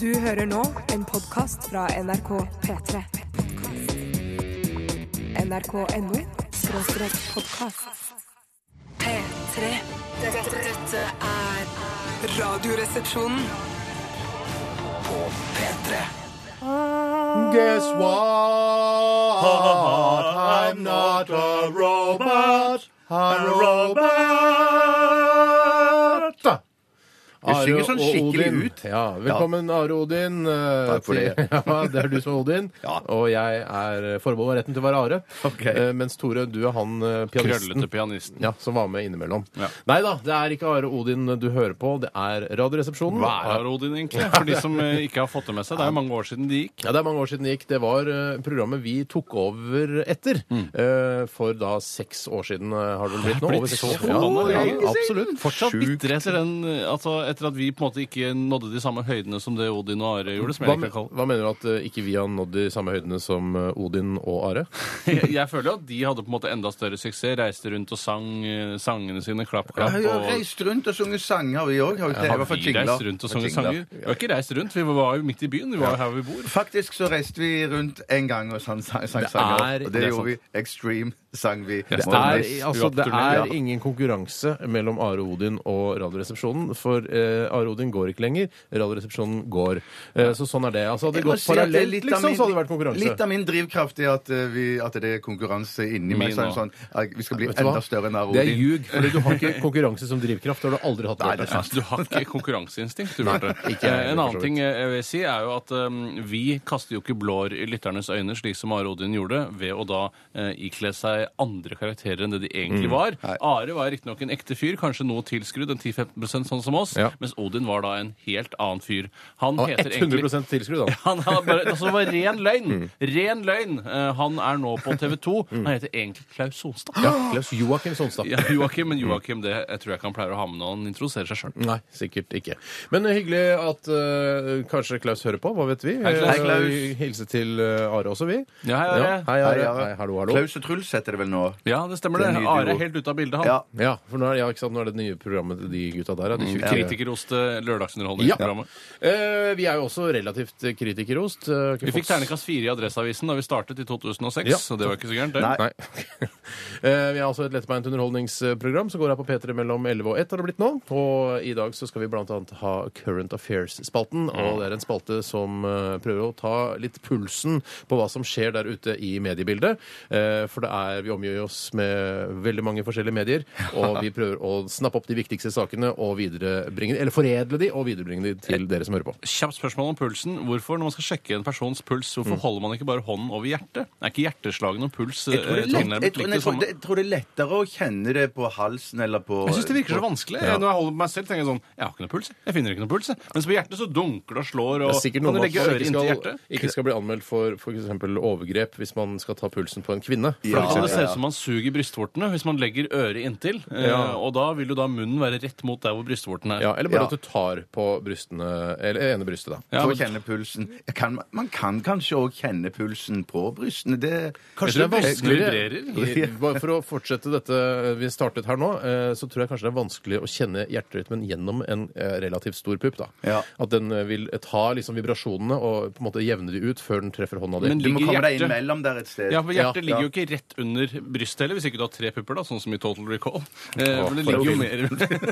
Du hører nå en podkast fra NRK P3. NRK.no skråstrek podkast. P3. Dette, dette er Radioresepsjonen. Guess what? I'm not a robot. I'm a robot. Du synger sånn og skikkelig Odin. ut. Ja, Velkommen, Are Odin. eh, Takk for det. til- Ja, det er du som er Odin, Ja. og jeg er eh, forbeholdt retten til å være Are. Ok. Eh, Mens Tore, du er han eh, pianisten. Krøllete pianisten. Ja, Som var med innimellom. Ja. Nei da, det er ikke Are Odin du hører på, det er Radioresepsjonen. Hva er Arodin egentlig? For de som eh, ikke har fått det med seg. Det er jo mange år siden de gikk. Ja, Det er mange år siden det gikk. Det var eh, programmet vi tok over etter. Mm. eh, for da seks år siden eh, har det vel blitt nå. Blitt Over seks så år. ja, forbanna lenge siden. ja, absolutt. Fortsatt Sjukt. bitre etter den eh, altså, Etter at vi på en måte ikke nådde de samme høydene som det Odin og Are gjorde. Som Hva, jeg, men- liker å kalle. hva mener du at eh, ikke vi har nådd de samme høydene som eh, Odin og Are? Jeg, jeg føler jo at de hadde på en måte enda større suksess. Reiste rundt og sang eh, sangene sine. Klapp, Jeg klapp. har jo og... reist rundt og sunget sanger, vi òg. Har, Har vi reist rundt og sunget sanger? Vi har ikke reist rundt, vi var jo midt i byen. Vi var jo her vi bor. Faktisk så reiste vi rundt en gang og sang, sang, sang Det sanger. er- det og det, er gjorde vi. Extreme sang vi. Det Og er, Miss- altså, det Ja. er ingen konkurranse mellom Are Odin og Radioresepsjonen. For eh, Are Odin går ikke lenger, Radioresepsjonen går. Eh, så sånn er det. Altså, hadde det Jeg må gått si at det er parallelt, litt av liksom, min- så hadde det vært konkurranse. Litt av min drivkraft i at, eh, vi, at det er konkurranse inni Min meg. Sånn, også. sånn, at vi skal bli Vet du hva? enda større enn Are Det er Odin. ljug, fordi du har ikke konkurranse som drivkraft. Det har du aldri hatt. Bjarte. Ja, du har ikke konkurranseinstinkt, du, Bjarte. ikke jeg heller, Eh, for En så annen ting eh, jeg vil si, er jo at eh, vi kaster jo ikke blår i lytternes øyne, slik som Are Odin gjorde, ved å da eh, ikle seg andre karakterer enn det de Mm. egentlig var. Are var riktignok en ekte fyr, kanskje noe tilskrudd, en 10-15 sånn som oss, Ja. mens Odin var da en helt annen fyr. Han Han var heter egentlig 100 tilskrudd, han. han har bare, altså, det var ren løgn. Mm. Ren løgn. Eh, han er nå på TV 2. Han heter egentlig Klaus Solstad. Ja, Mm. Klaus Joakim Sonstad. Ja, Joakim, men Joakim, det jeg tror jeg ikke han pleier å ha med når han introduserer seg sjøl. Nei, sikkert ikke. Men eh, hyggelig at eh, kanskje Klaus hører på. Hva vet vi? Hei, Eh, Klaus. vi hilser til eh, Are også, vi. Ja, hei, Are. hei, Are. Hei, Hei, Are. hallo, hallo. Klaus og Truls heter det vel nå? Ja, det stemmer Det det. er en ny duo. Are er helt ute av bildet, han. Ja. Ja, for nå er, det- ja, ikke sant? nå er det det nye programmet til de gutta der. ja, De Mm, tjukke- Kritikeroste Ja. lørdagsunderholdningsprogrammet. Eh, vi er jo også relativt eh, kritikerost. Eh, Vi fikk Fox- ternekast fire i Adresseavisen da vi startet i 2006, Ja. så det var ikke så gærent. det. Nei. Nei. Eh, vi har altså et lettbeint underholdningsprogram som går her på P3 mellom 11 og 1 har det blitt nå. Og i dag så skal vi blant annet ha Current Affairs-spalten. Og det er en spalte som eh, prøver å ta litt pulsen på hva som skjer der ute i mediebildet. Eh, For det er, vi omgir oss med veldig mange forskjellige medier, og vi prøver å snappe opp de viktigste sakene og viderebringe eller foredle de og viderebringe de til dere som hører på. Kjapt spørsmål om pulsen. Hvorfor, når man skal sjekke en persons puls, hvorfor Mm. holder man ikke bare hånden over hjertet? Er ikke hjerteslagene og puls Jeg tror, det eh, er lett, tilnærmet jeg, tror, likt nei, det jeg, tror, samme? det- jeg tror det er lettere å kjenne det på halsen eller på Jeg syns det virker så vanskelig. Ja. Når jeg holder på meg selv, tenker jeg sånn Jeg har ikke noe puls. jeg. Jeg finner ikke noe puls. jeg. Mens på hjertet så dunker det og slår, Det og er sikkert kan noe du med legge at man øret ikke inntil skal, hjertet? ikke skal bli anmeldt for f.eks. overgrep hvis man skal ta pulsen på en kvinne. For da Ja, kan det ja, se ja. ut som man suger brystvortene hvis man legger øret inntil. eh, Ja. Og da vil jo da munnen være rett mot der hvor brystvorten er. Ja, eller bare Ja. at du tar på brystene, eller ene brystet, da. Ja, For å men- kjenne pulsen. Jeg Kan, man kan kanskje òg kjenne pulsen på brystene. Det Kanskje det er vanskeligere- vanskeligere? I- Bare for å fortsette dette vi startet her nå, eh, så tror jeg kanskje det er vanskelig å kjenne hjerterytmen gjennom en eh, relativt stor pupp. da. Ja. At den eh, vil ta liksom vibrasjonene og på en måte jevne de ut før den treffer hånda di. Men Du må ligger komme deg hjertet- innimellom der et sted. Ja, for Hjertet Ja, ligger jo ikke rett under brystet heller, hvis ikke du har tre pupper, da, sånn som i Total Recall. Eh, Åh, men det for ligger, jo en mer,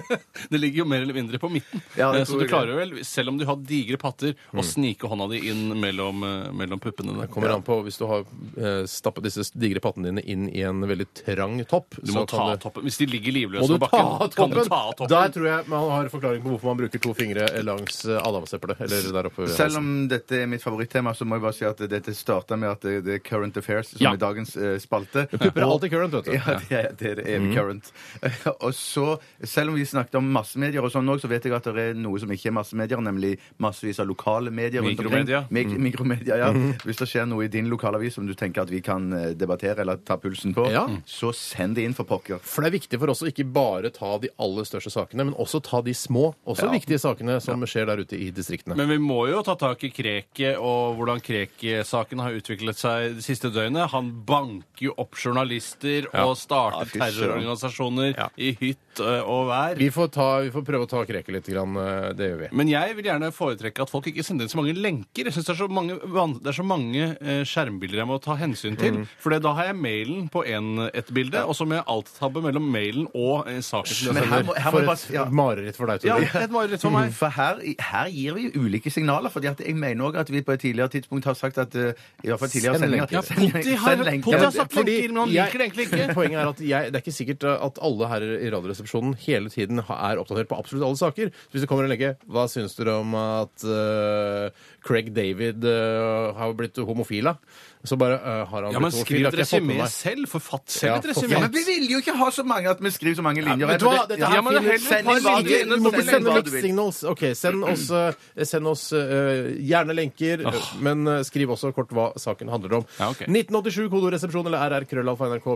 det ligger jo mer eller mindre på midten. Ja, det eh, så tror du jeg. klarer vel, selv om du har digre patter, å snike hånda di inn mellom, eh, mellom puppene. der. Mm. kommer an på Hvis du har eh, stappet disse digre pattene dine inn i en veldig trang topp Du må så kan ta det- toppen. Hvis de ligger livløse Må du på ta bakken, kan du toppen? ta av toppen. Der tror jeg man har forklaring på hvorfor man bruker to fingre langs eh, adamseplet. Eller der oppe ved halsen. Selv om dette er mitt favorittema, så må jeg bare si at dette starta med at det- det er Current Affairs, som Ja. er dagens eh, spalte. Pupper er Og- alltid current, vet du. Ja, det er det, er det Mm. evig current. Og så, selv om vi snakket om massemedier og sånn òg, så vet jeg at det er noe som ikke er massemedier, nemlig massevis av lokale medier. rundt omkring. Mikromedia. Mm. Mik Mikromedia, ja. Hvis det skjer noe i din lokalavis som du tenker at vi kan eh, debattere eller ta pulsen på, Ja. så send det inn for pokker. Altså, For det er viktig for oss å ikke bare ta de aller største sakene, men også ta de små, også Ja. viktige sakene som skjer der ute i distriktene. Men vi må jo ta tak i Kreket og hvordan Krek-saken har utviklet seg det siste døgnet. Han banker jo opp journalister og starter Ja, fy søren. terrororganisasjoner i hytt alt eh, og vær. Vi får, ta, vi får prøve å ta kreket litt. Grann. eh, Det gjør vi. Men jeg vil gjerne foretrekke at folk ikke sender inn så mange lenker. Jeg synes Det er så mange, van- det er så mange eh, skjermbilder jeg må ta hensyn til. For da har jeg mailen på en, et bilde, og så må jeg alt-tabbe mellom mailen og eh, saken. som jeg Men her sender. må, her må For et jeg bare ja. mareritt for deg, Ja, Tore. et mareritt for meg. For her, her gir vi jo ulike signaler. fordi at jeg mener også at vi på et tidligere tidspunkt har sagt at eh, I hvert fall tidligere Send sendinger lenker. Ja, send lenker, Potti har, send lenker. Potti har Ja, satt lenker, men han liker det egentlig ikke. Poenget er at jeg, Det er ikke sikkert at alle her i Radioresepsjonen hele tiden ha- er oppdatert på absolutt alle saker. Så Hvis det kommer en lege Hva syns dere om at eh, Craig David eh, har blitt homofil? da?" Så bare eh, har han Ja, men blitt homofil. Skriv har ikke et jeg fått med resymé meg. selv. Forfatt Ja, selv et forfatt. resymé. Ja, men vi vil jo ikke ha så mange at vi skriver så mange linjer. vet du hva? Dette her Ja, men det er finnes- heller Send bare hva du linjer vil. enn et Du må dobbelt ikke Send sende hva du mixed vil. signals. Ok, Send oss, eh, send oss eh, gjerne lenker, men eh, skriv også kort hva saken handler om. Ja, ok. 1987 kodoresepsjon eller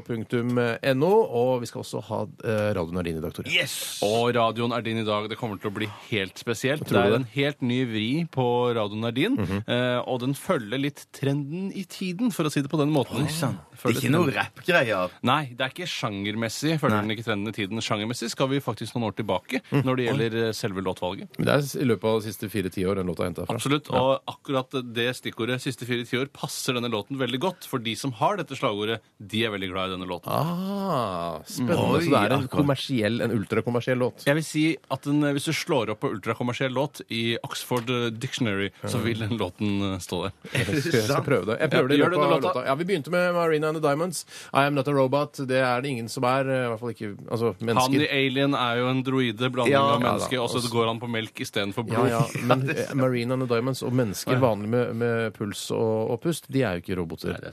rrkrøllalfa.nrk.no. Og vi skal også ha eh, radioen er din i dag, Tore. Og radioen er din i dag. Det kommer til å bli helt spesielt. Det Tror du er det? en helt ny vri på radioen er din, Mhm. eh, og den følger litt trenden i tiden, for å si det på den måten. Det er Følger ikke noe trenden. rappgreier. Nei, det er ikke sjangermessig. Følger den ikke trenden i tiden Sjangermessig skal vi faktisk noen år tilbake Mm. når det gjelder eh, selve låtvalget. Men det er i løpet av de siste fire tiår den låta er henta fra. Absolutt, og akkurat det stikkordet siste fire tiår passer denne låten veldig godt, for de som har dette slagordet, de er veldig glad i denne låten. Ah, spennende. så Oi, det er en akkurat. kommersiell, en ultrakommersiell låt. Jeg vil si at den, eh, Hvis du slår opp på ultrakommersiell låt i Oxford eh, Dictionary, så Mm. vil den låten eh, stå der. Jeg skal prøve det. Jeg prøver det i Ja, gjør løpet det av under låta. låta. Ja, Vi begynte med Marina and the Diamonds. I am not a robot. Det er det ingen som er. eh, I hvert fall ikke altså, Han i mennesker. Alien er jo en droide, blanding Ja, av ja da. menneske, og så Også- går han på melk istedenfor Ja, blod. ja, men eh, Marina and the Diamonds og mennesker vanlig med, med puls og, og pust, de er jo ikke roboter.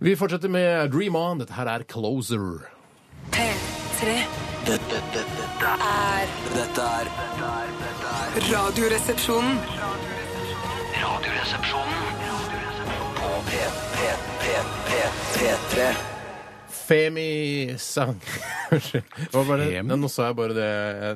Vi fortsetter med Dream On. Dette her er Closer. P3 Dette, dette, dette, er er- dette er dette er- dette er Radioresepsjonen. Radioresepsjonen Radioresepsjonen. på P, P, P, P, P3. Femi sang Unnskyld. Det var bare- Femi? Nei, Nå sa jeg bare det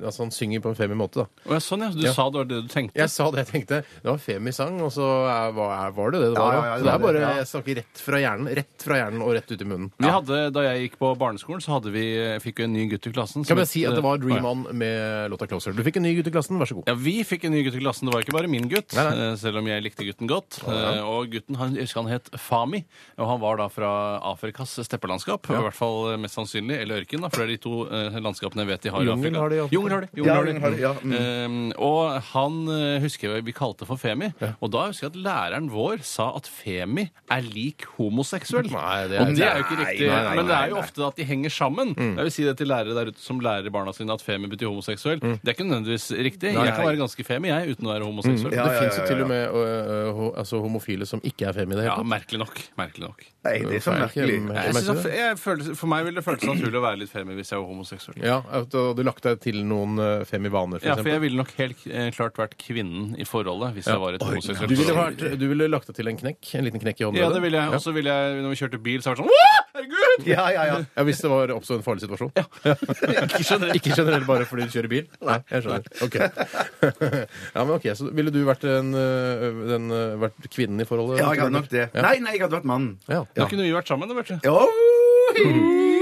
Altså, han synger på en femi-måte, da. Å, ja, sånn, ja. Du Ja. sa det var det du tenkte. Jeg sa det jeg tenkte. Det var Femi-sang, og så er- var var det det det Ja, var. ja, ja, så det det var er bare det, ja. jeg snakker rett fra hjernen rett fra hjernen og rett ut i munnen. Vi hadde, da jeg gikk på barneskolen, så hadde vi, jeg fikk jo en ny gutt i klassen. som Kan jeg bare si het- eh, at det var Å, Dream ja. On med låta 'Closer'. Du fikk en ny gutt i klassen, vær så god. Ja, Vi fikk en ny gutt i klassen. Det var ikke bare min gutt. Nei, nei. eh, Selv om jeg likte gutten godt. Eh, Og gutten han, jeg husker han het Fami. Og han var da fra Afrikas steppelandskap. I hvert fall eh, mest sannsynlig. Eller ørken, da, for det er de to eh, landskapene jeg vet de har Jungel i Afrika. har de i Afrika. Jungel har de. Ja, Jungel har jungel har de. de, ja, mm. Mm. Eh, og han eh, husker jeg vi kalte for Femi. Og da husker jeg at læreren vår sa at Femi er lik homoseksuell. Nei, det er- og det er jo ikke Nei, riktig. nei, nei, men det nei, er jo nei. Mm. ofte at de henger sammen. Jeg vil si det til lærere der ute som lærer barna sine at Femi betyr homoseksuell. Mm. Det er ikke nødvendigvis riktig. nei, jeg kan nei. være ganske femi, jeg, uten å være homoseksuell. Ja, det ja, fins jo ja, til ja. og med ø, ø, ho- altså, homofile som ikke er femi i det hele Ja, tatt. merkelig nok. Merkelig nok. Nei, det er så Hvorfor er det merkelig. ikke- Jeg merker synes du at, det? jeg føles, for meg ville det føltes naturlig å være litt femi hvis jeg var homoseksuell. Ja, at du hadde lagt deg til noen øh, ø, femi-vaner, for Ja, for jeg eksempel. ville nok helt eh, klart vært kvinnen i forholdet hvis jeg var et homoseksuelt Du ville, forhold. vært, du ville lagt deg til en knekk? En liten knekk i håndleddet? Ja, det ville jeg. Og så ville jeg, når vi kjørte bil, så var det sånn Åh, herregud! Ja, ja, ja. Ja, Hvis det var oppstod en farlig situasjon? ikke generelt. bare fordi du kjører bil? Nei, jeg skjønner. Ok. ja, men ok, Så ville du vært, en, ø, den, ø, vært kvinnen i forholdet? Ja, jeg hadde nok det. Nei, nei, jeg hadde vært mann. Ja. Mm. Da kunne vi vært sammen, da, vet du. Oh!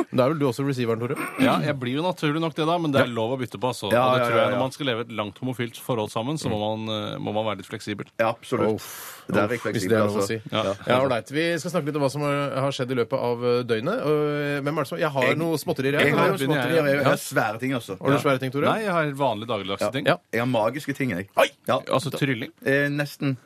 Da er vel du også receiveren, Tore? Ja, jeg blir jo naturlig nok det, da, men det er lov å bytte på. Altså. Ja, og det ja, ja, tror jeg ja. Når man skal leve et langt homofilt forhold sammen, så må man, eh, må man være litt fleksibel. Ja, absolutt. Uff. Der er Hvis det jeg fleksibel, er lov å si. altså. Ja, ålreit. Vi skal snakke litt om hva som har har skjedd i løpet av ø, døgnet. Og, ø, Hvem er det som Jeg har Jeg- noe småtterier, Jeg jeg. har Har du jo begynner jeg, småtteri. småtterier? Jeg jeg har svære ting, altså. Har du svære ting, Tore? Nei, jeg har vanlige dagligdagse ting. Ja. Jeg har magiske ting, jeg. Ja. Altså trylling. Eh, nesten.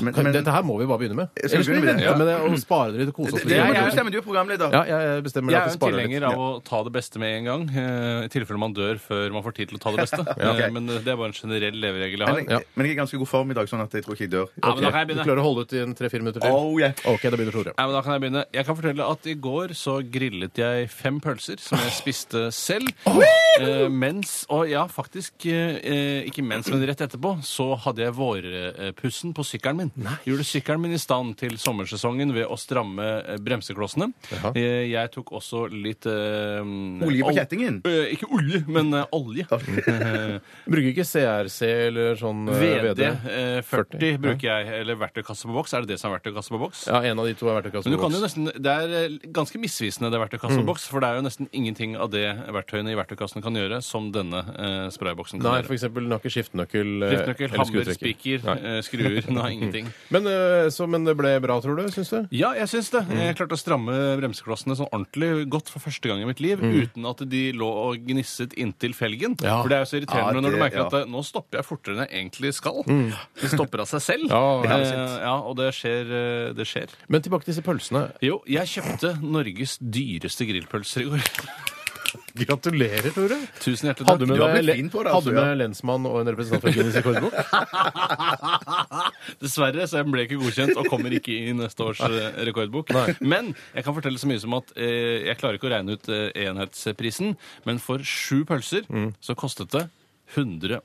Men, Kan- men, Dette her må vi bare begynne med. Skal vi Ellers må vi begynne med vente det? med det og spare dere til å kose oss. det, det må Jeg- du jeg- bestemme. Du er programleder. Ja, jeg bestemmer at Jeg er vi en sparer litt. tilhenger av å ta det beste med en gang, eh, i tilfelle man dør før man får tid til å ta det beste. ok. Eh, Men det er bare en generell leveregel jeg har. Men, jeg, men jeg er i ganske god form i dag, sånn at jeg tror ikke jeg dør. Ja, men da kan jeg Du begynne. klarer å holde ut i en tre-fire minutter til? Oh, yeah. OK, da begynner Tore. Ja, men da kan Jeg begynne. Jeg kan fortelle at i går så grillet jeg fem pølser som jeg spiste selv. Eh, mens, og ja, faktisk eh, eh, ikke mens, men rett etterpå, så hadde jeg vårpussen på sykkelen min. Gjorde sykkelen min i stand til sommersesongen ved å stramme eh, bremseklossene. Jaha. Eh, Jeg tok også litt eh, Ah, Olje på oh. ol- kjettingen? Eh, Ikke olje, men eh, olje. Eh, Bruker ikke CRC eller sånn eh, VD VD. eh, 40 bruker jeg, eller verktøykasse på boks. Er det det som er verktøykasse på boks? Ja, en av de to er verktøykassen. Men du kan jo nesten, Det er eh, ganske misvisende, det verktøykassa Mm. på boks. For det er jo nesten ingenting av det verktøyene i verktøykassen kan gjøre, som denne eh, sprayboksen kan Nei, gjøre. for eksempel den har ikke skiftenøkkel. eh, Driftnøkkel, eller Mm. hammer, skrutrekker. spiker, Nei. eh, skruer. Nei, ingenting. Men, eh, så, men det ble bra, tror du? Syns du? Ja, jeg syns det. Mm. Jeg klarte å stramme bremseklossene sånn ordentlig godt for første gang i mitt liv, uten at de lå og gnisset inntil felgen. Mm. Ja. Mm. For det er jo så irriterende Ja, når du det- merker ja. at eh, nå stopper jeg fortere enn jeg egentlig skal. Det stopper av seg selv. Ja, det er Eh, ja, og det skjer. eh, Det skjer. Men tilbake til disse pølsene. Jo, jeg kjøpte Norges dyreste grillpølser i går. Gratulerer, Tore. Tusen hjertelig Hadde takk. du med, Du har deg blitt le- fin på det, altså, hadde du med lensmann og en representant fra Guinness rekordbok? Dessverre, så jeg ble ikke godkjent og kommer ikke i neste års eh, rekordbok. Men jeg kan fortelle så mye som at eh, jeg klarer ikke å regne ut eh, enhetsprisen, men for sju pølser Mm. så kostet det 111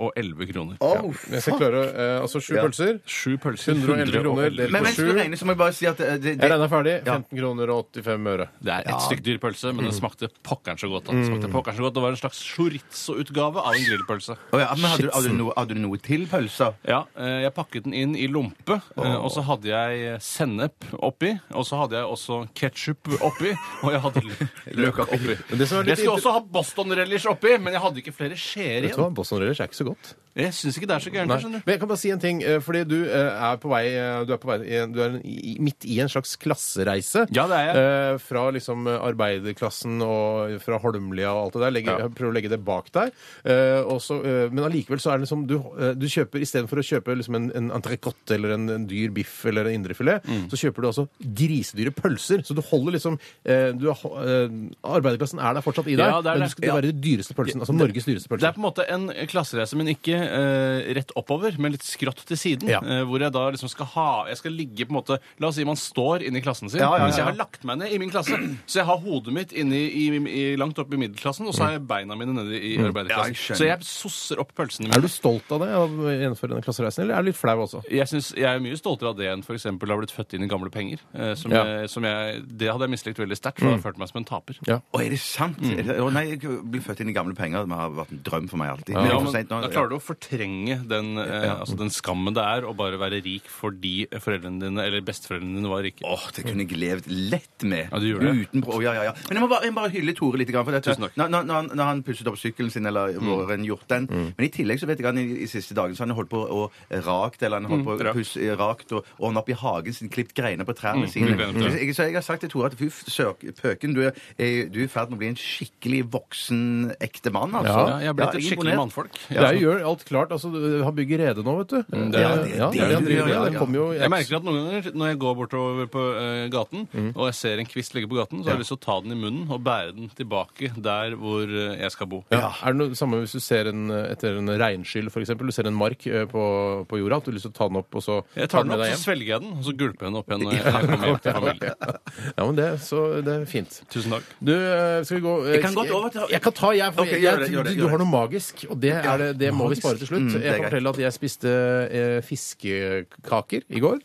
kroner. Oh, Jeg skal klare eh, altså sju Ja. pølser. Sju pølser, 111 kroner, delt Men på mens du Sju. regner, så må jeg bare si at eh, det, Jeg det, regna ferdig. Ja. 15 kroner og 85 øre. Det er et stykk dyr pølse, men den Mm. smakte pokkeren så godt. da. Den smakte pokkeren så godt. Det var en slags chorizo-utgave av en grillpølse. Å ja, men hadde, du- hadde, du noe, hadde du noe til pølser? Ja, eh, jeg pakket den inn i lompe, eh, og så hadde jeg sennep oppi, og så hadde jeg også ketchup oppi, og jeg hadde løk oppi. det som er litt Jeg skulle inter- også ha Boston Relish oppi, men jeg hadde ikke flere skjeer Vet du hva, igjen. Boston Relish er ikke så godt. Jeg syns ikke det er så gærent, Nei. jeg, skjønner du. Men jeg kan bare si en ting, eh, fordi du eh, er på vei eh, Du er, på vei, i en- du er en- i, midt i en slags klassereise. Ja, det er jeg. Eh, fra liksom eh, arbeiderklassen og fra Holmlia og alt det der. Legger, Ja. Prøver å legge det bak deg. Eh, og så, eh, men allikevel så er det liksom Du, eh, du kjøper istedenfor å kjøpe liksom en, en entrecôte eller en, en dyr biff eller en indrefilet, Mm. så kjøper du altså grisedyre pølser. Så du holder liksom eh, du, har- eh, Arbeiderklassen er der fortsatt i deg, Ja, det er men det. du skal det Ja. være de dyreste pølsene. Altså Norges dyreste Det er pølser. på en måte en klassereise, men ikke eh, rett oppover, men litt skrått til siden. Ja. eh, hvor jeg da liksom skal ha Jeg skal ligge på en måte La oss si man står inni klassen sin. Ja, ja, ja, Hvis jeg har ja. lagt meg ned i min klasse, så jeg har hodet mitt inni, i, i, langt oppe i middelklassen, og så har jeg beina mine nede i Mm. Ja, jeg arbeiderklassen. skjønner. så jeg sosser opp pølsene Er mine. du stolt av det, av å gjennomføre denne klassereisen, eller er du litt flau også? Jeg, synes, jeg er mye stoltere av det enn f.eks. å ha blitt født inn i gamle penger. eh, som Ja. jeg, som jeg, det hadde jeg mislikt veldig sterkt, for Mm. jeg hadde følt meg som en taper. Ja. Å, er det sant? Er det- Å nei, jeg blir født inn i gamle penger. Det har vært en drøm for meg alltid. Men det Ja, er for men sent nå. da klarer du å fortrenge den, eh, altså den skammen det er å bare være rik fordi foreldrene dine eller besteforeldrene dine var rike. Åh, det kunne jeg levd lett med. Ja, du gjorde det. Uten pro ja, ja, ja. Men jeg må bare, jeg må bare hylle Tore litt. For dette. Tusen takk. Mm. Når, når, når han- når han pusset opp sykkelen sin, eller hvor han gjort den Men i tillegg så vet jeg han i, i siste dagen så han holdt på å rakt, eller han holdt på å Mm, rakt. Mm, pusse rakt, og, og han opp i hagen sin, klippet greiner på trærne sine. klippet greiner på Så, jeg, så jeg har sagt til Tore at fy f- søk, pøken, du er eh, du er i ferd med å bli en skikkelig voksen, ekte mann, altså. Ja, jeg er blitt et er skikkelig imponert. mannfolk. Det er jo gjør alt klart. altså du Har bygget rede nå, vet du. det er- Ja, ja, det- Mm, det det er det han du driver gjør, ja, med. ja. Det kommer jo- Jeg merker at noen ganger når jeg går bortover på eh, gaten og jeg ser en kvist ligge på gaten, så har jeg lyst til å ta den i munnen og bære den tilbake der hvor eh, jeg skal bo. Ja. Er det noe samme hvis du ser en, etter en regnskyll, for eksempel Du ser en mark eh, på, på jorda, at du har lyst til å ta den opp og så Jeg ta tar den med opp, deg så svelger jeg den, og så gulper jeg den opp igjen når jeg kommer hjem til familien. hjem? Ja, men det, så det er fint. Tusen takk. Du, eh, skal vi gå eh, Jeg kan godt overta- Jeg kan ta, jeg. For Ok, gjør jeg, det, gjør det, du- du gjør har noe magisk, og det, er, det- det må vi Magisk? spare til slutt. Mm, det er jeg kan greit. fortelle at jeg spiste eh, fiskekaker i går.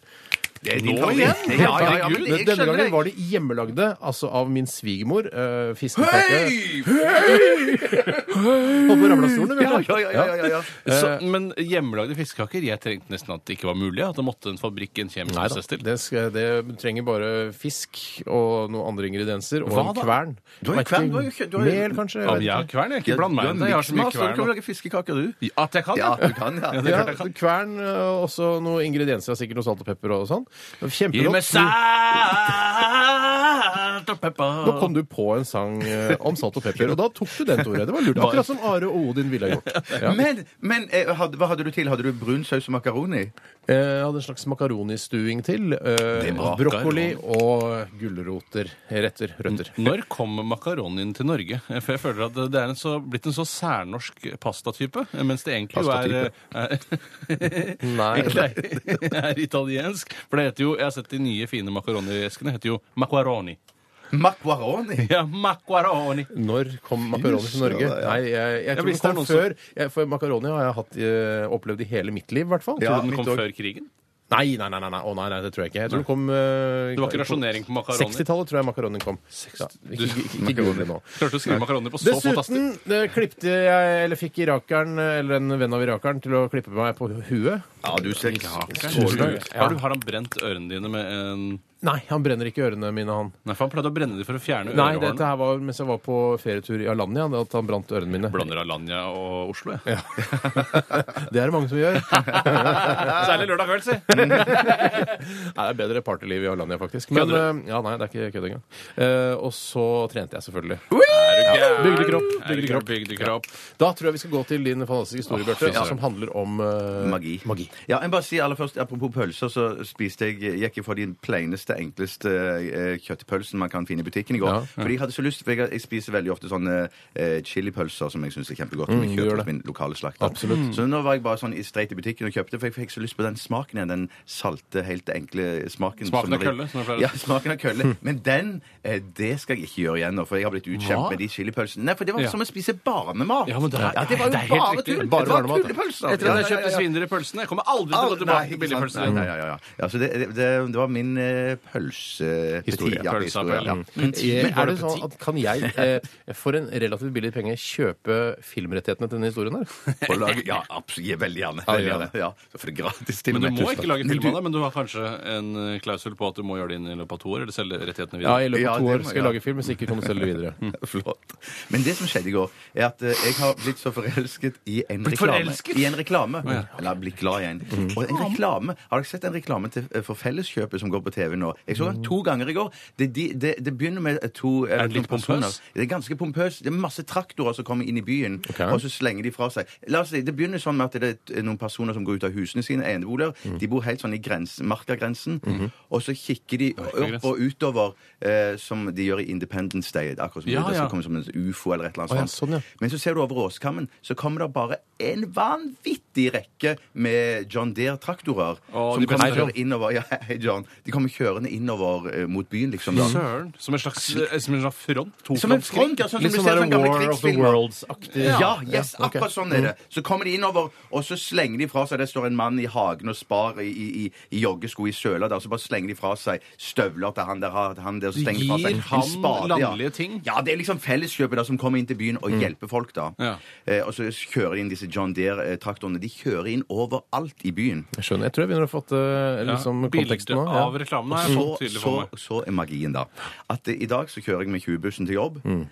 Det er din Nå favoritt. igjen? Ja, ja, ja, men Herregud, jeg Denne skjønner gangen det. var de hjemmelagde, altså av min svigermor. Uh, fiskekake. Hei! Holdt på å ramle av stolen, Ja, vet du. ja, ja, ja, ja, ja. Så, Eh, men hjemmelagde fiskekaker Jeg trengte nesten at det ikke var mulig. At det måtte en fabrikk, en kjemisk Neida, prosess til. det, skal, det trenger bare fisk og noen andre ingredienser. Og Hva en da? kvern. Du har en Vet kvern, ikke, du har jo ikke- du har jo- Mel, kanskje? jeg Ja, vet men jeg har ikke. kvern, jeg. Ikke bland meg med det. Jeg har så mye Du kan kvern. lage fiskekaker, du. Ja, At jeg kan, Ja, du kan, ja. det er Ja, klart jeg kan. kvern og også noen ingredienser. Sikkert noe salt og pepper og sånn. Gi meg Kjempegodt. salt og Nå pepper. kom du på en sang eh, om salt og pepper, og da tok du den, Tore. Det var lurt. Akkurat som Are og Odin ville ha gjort. Ja. Men, men eh, hadde, hva hadde du til? Hadde du brun saus og makaroni? Eh, Jeg hadde en slags makaronistuing til. Eh, var brokkoli og gulroter. Retter. Røtter. Når kom makaronien til Norge? For jeg føler at det er en så, blitt en så særnorsk pastatype, mens det egentlig jo er, er Nei. Nei, er italiensk. For det heter jo, jeg har sett de nye fine makaroniereskene, heter jo macaroni. Macaroni? Ja, macaroni. Når kom makaroni til Norge? ja. Nei, jeg, jeg tror det hvis det er kom noen som- før. Jeg, for makaroni har jeg hatt, eh, opplevd i hele mitt liv, i hvert fall. Ja, Tror du den mitt kom år. før krigen? Nei, nei, nei, nei, nei. Å, nei, nei, det tror jeg ikke. Jeg tror det kom eh, Det var ikke rasjonering på makaroni? 60-tallet tror jeg makaronien kom. Ja, ikke, ikke, ikke, ikke google det nå. Klarte å skrive makaroni på så fantastisk. Dessuten eh, klippte jeg, eller fikk irakeren, eh, eller en venn av irakeren, til å klippe meg på huet. Ja, du ser Tusen takk. Har, du, har han brent ørene dine med en Nei, han brenner ikke ørene mine, han. Nei, for han pleide å brenne dem for å fjerne Nei, ørehårene. dette her var mens jeg var på ferietur i Alanya, det at han brant ørene mine. Blander Alanya og Oslo, jeg. Ja. det er det mange som gjør. Særlig lørdag kveld, si! Nei, det er bedre partyliv i Alanya, faktisk. Men Kødder eh, Ja, nei, det er ikke kødd engang. Eh, og så trente jeg, selvfølgelig. Bygde Bygde kropp, bygde kropp. Bygde kropp. Da tror jeg vi skal gå til din fantastiske historie, Bjarte, søren. som handler om eh, Magi. Ja, jeg bare sier aller først, Apropos pølser, så spiste jeg gikk jeg for den plaineste, enkleste eh, kjøttpølsen man kan finne i butikken i går. Ja, ja. Fordi jeg hadde så lyst, for jeg, jeg spiser veldig ofte sånne eh, chilipølser som jeg syns er kjempegodt. Mm, med du kjøtt gjør hos det. min lokale slakter. Så nå var jeg bare sånn i- straight i butikken og kjøpte, for jeg fikk så lyst på den smaken igjen. Den salte, helt enkle Smaken smaken. som av det- kølle, som jeg pleier å si. Ja, smaken av kølle. Men den, eh, det skal jeg ikke gjøre igjen nå, for jeg har blitt Hva? utkjent med de chilipølsene. Nei, for det var Ja. som å spise barnemat. Ja, men det er- det var jo det er helt bare riktig. tull. Det Bare var barnemat, ja. tullepølser. Etter at jeg Ja, ja, ja, kjøpte ja. svindere i pølsene. Jeg kommer aldri til å gå tilbake til billigpølser. Nei, ja, ja, ja. Ja, så det, det, det, det var min eh, pølse... Historie. Ja, Pølse av historie, ja. pølse. Mm. Men Men er det sånn at Kan jeg eh, for en relativt billig penge kjøpe filmrettighetene til denne historien? her? på laget- Ja, absolutt. Veldig gjerne. Ja, Veldig ja. gjerne. Ja, så for det gratis til Ah, Men du må ikke lage Men film du- av det, men du har kanskje en eh, klausul på at du må gjøre det inn i løpet av to år, eller selge rettighetene Ja, videre? I løpet Ja, av to det år må- skal jeg Mm. ja. lage film, hvis ikke kan du selge det videre. Flott. Men det som skjedde i går, er at eh, jeg har blitt så forelsket i en reklame. forelsket? Mm. I en reklame. Eller blitt glad i en. Og en reklame, Har dere sett en reklame til, eh, for Felleskjøpet som går på TV nå? Jeg så den to ganger i går. Det, de- det, det begynner med to eh, Er den litt to personer. pompøs? Det er ganske pompøs. Det er masse traktorer som kommer inn i byen, og så slenger de fra seg. La oss si, Det begynner sånn med at det er noen personer som går ut av husene sine, eneboliger. Mm. De bor helt sånn i grensen- markagrensen. Mhm. Og så kikker de opp og utover, eh, som de gjør i Independence Day. akkurat som Ja, det skal ja. komme som en ufo eller et eller Å, ja, annet sånt. sånn, ja. Men så ser du over åskammen, så kommer det bare en vanvittig rekke med John Deere-traktorer. Å, Som de beste. kommer kjørende innover Ja, hei, John. De kommer kjørende innover eh, mot byen, liksom. da. Søren. Som en slags, eh, som en slags front? To Som en front, ja, sånn som Litt du sånn ser der fra gamle War of the krigsfilmer. Worlds-aktig. Ja, yes, Ja, ok. akkurat sånn er det. Mm. Så kommer de innover, og så slenger de fra seg Det står en mann i hagen og spar i, i, i, i joggesko i søla der, så bare slenger de fra seg støvler til han der, har- til han der så slenger de fra Gir seg en han spade, ja. landlige ting? Mm. Ja, det er liksom felleskjøpet da, som kommer inn til byen og hjelper folk, da. Ja. Eh, og så kjører de inn disse John Deere-traktorene. De kjører inn overalt i byen. Mm, Jeg skjønner. Jeg tror jeg begynner å fatte eh, liksom, konteksten nå. Bildet av Ja. reklamen er så Så, tydelig for så, meg. så er magien, da. At eh, i dag så kjører jeg med 20-bussen til jobb. Mm.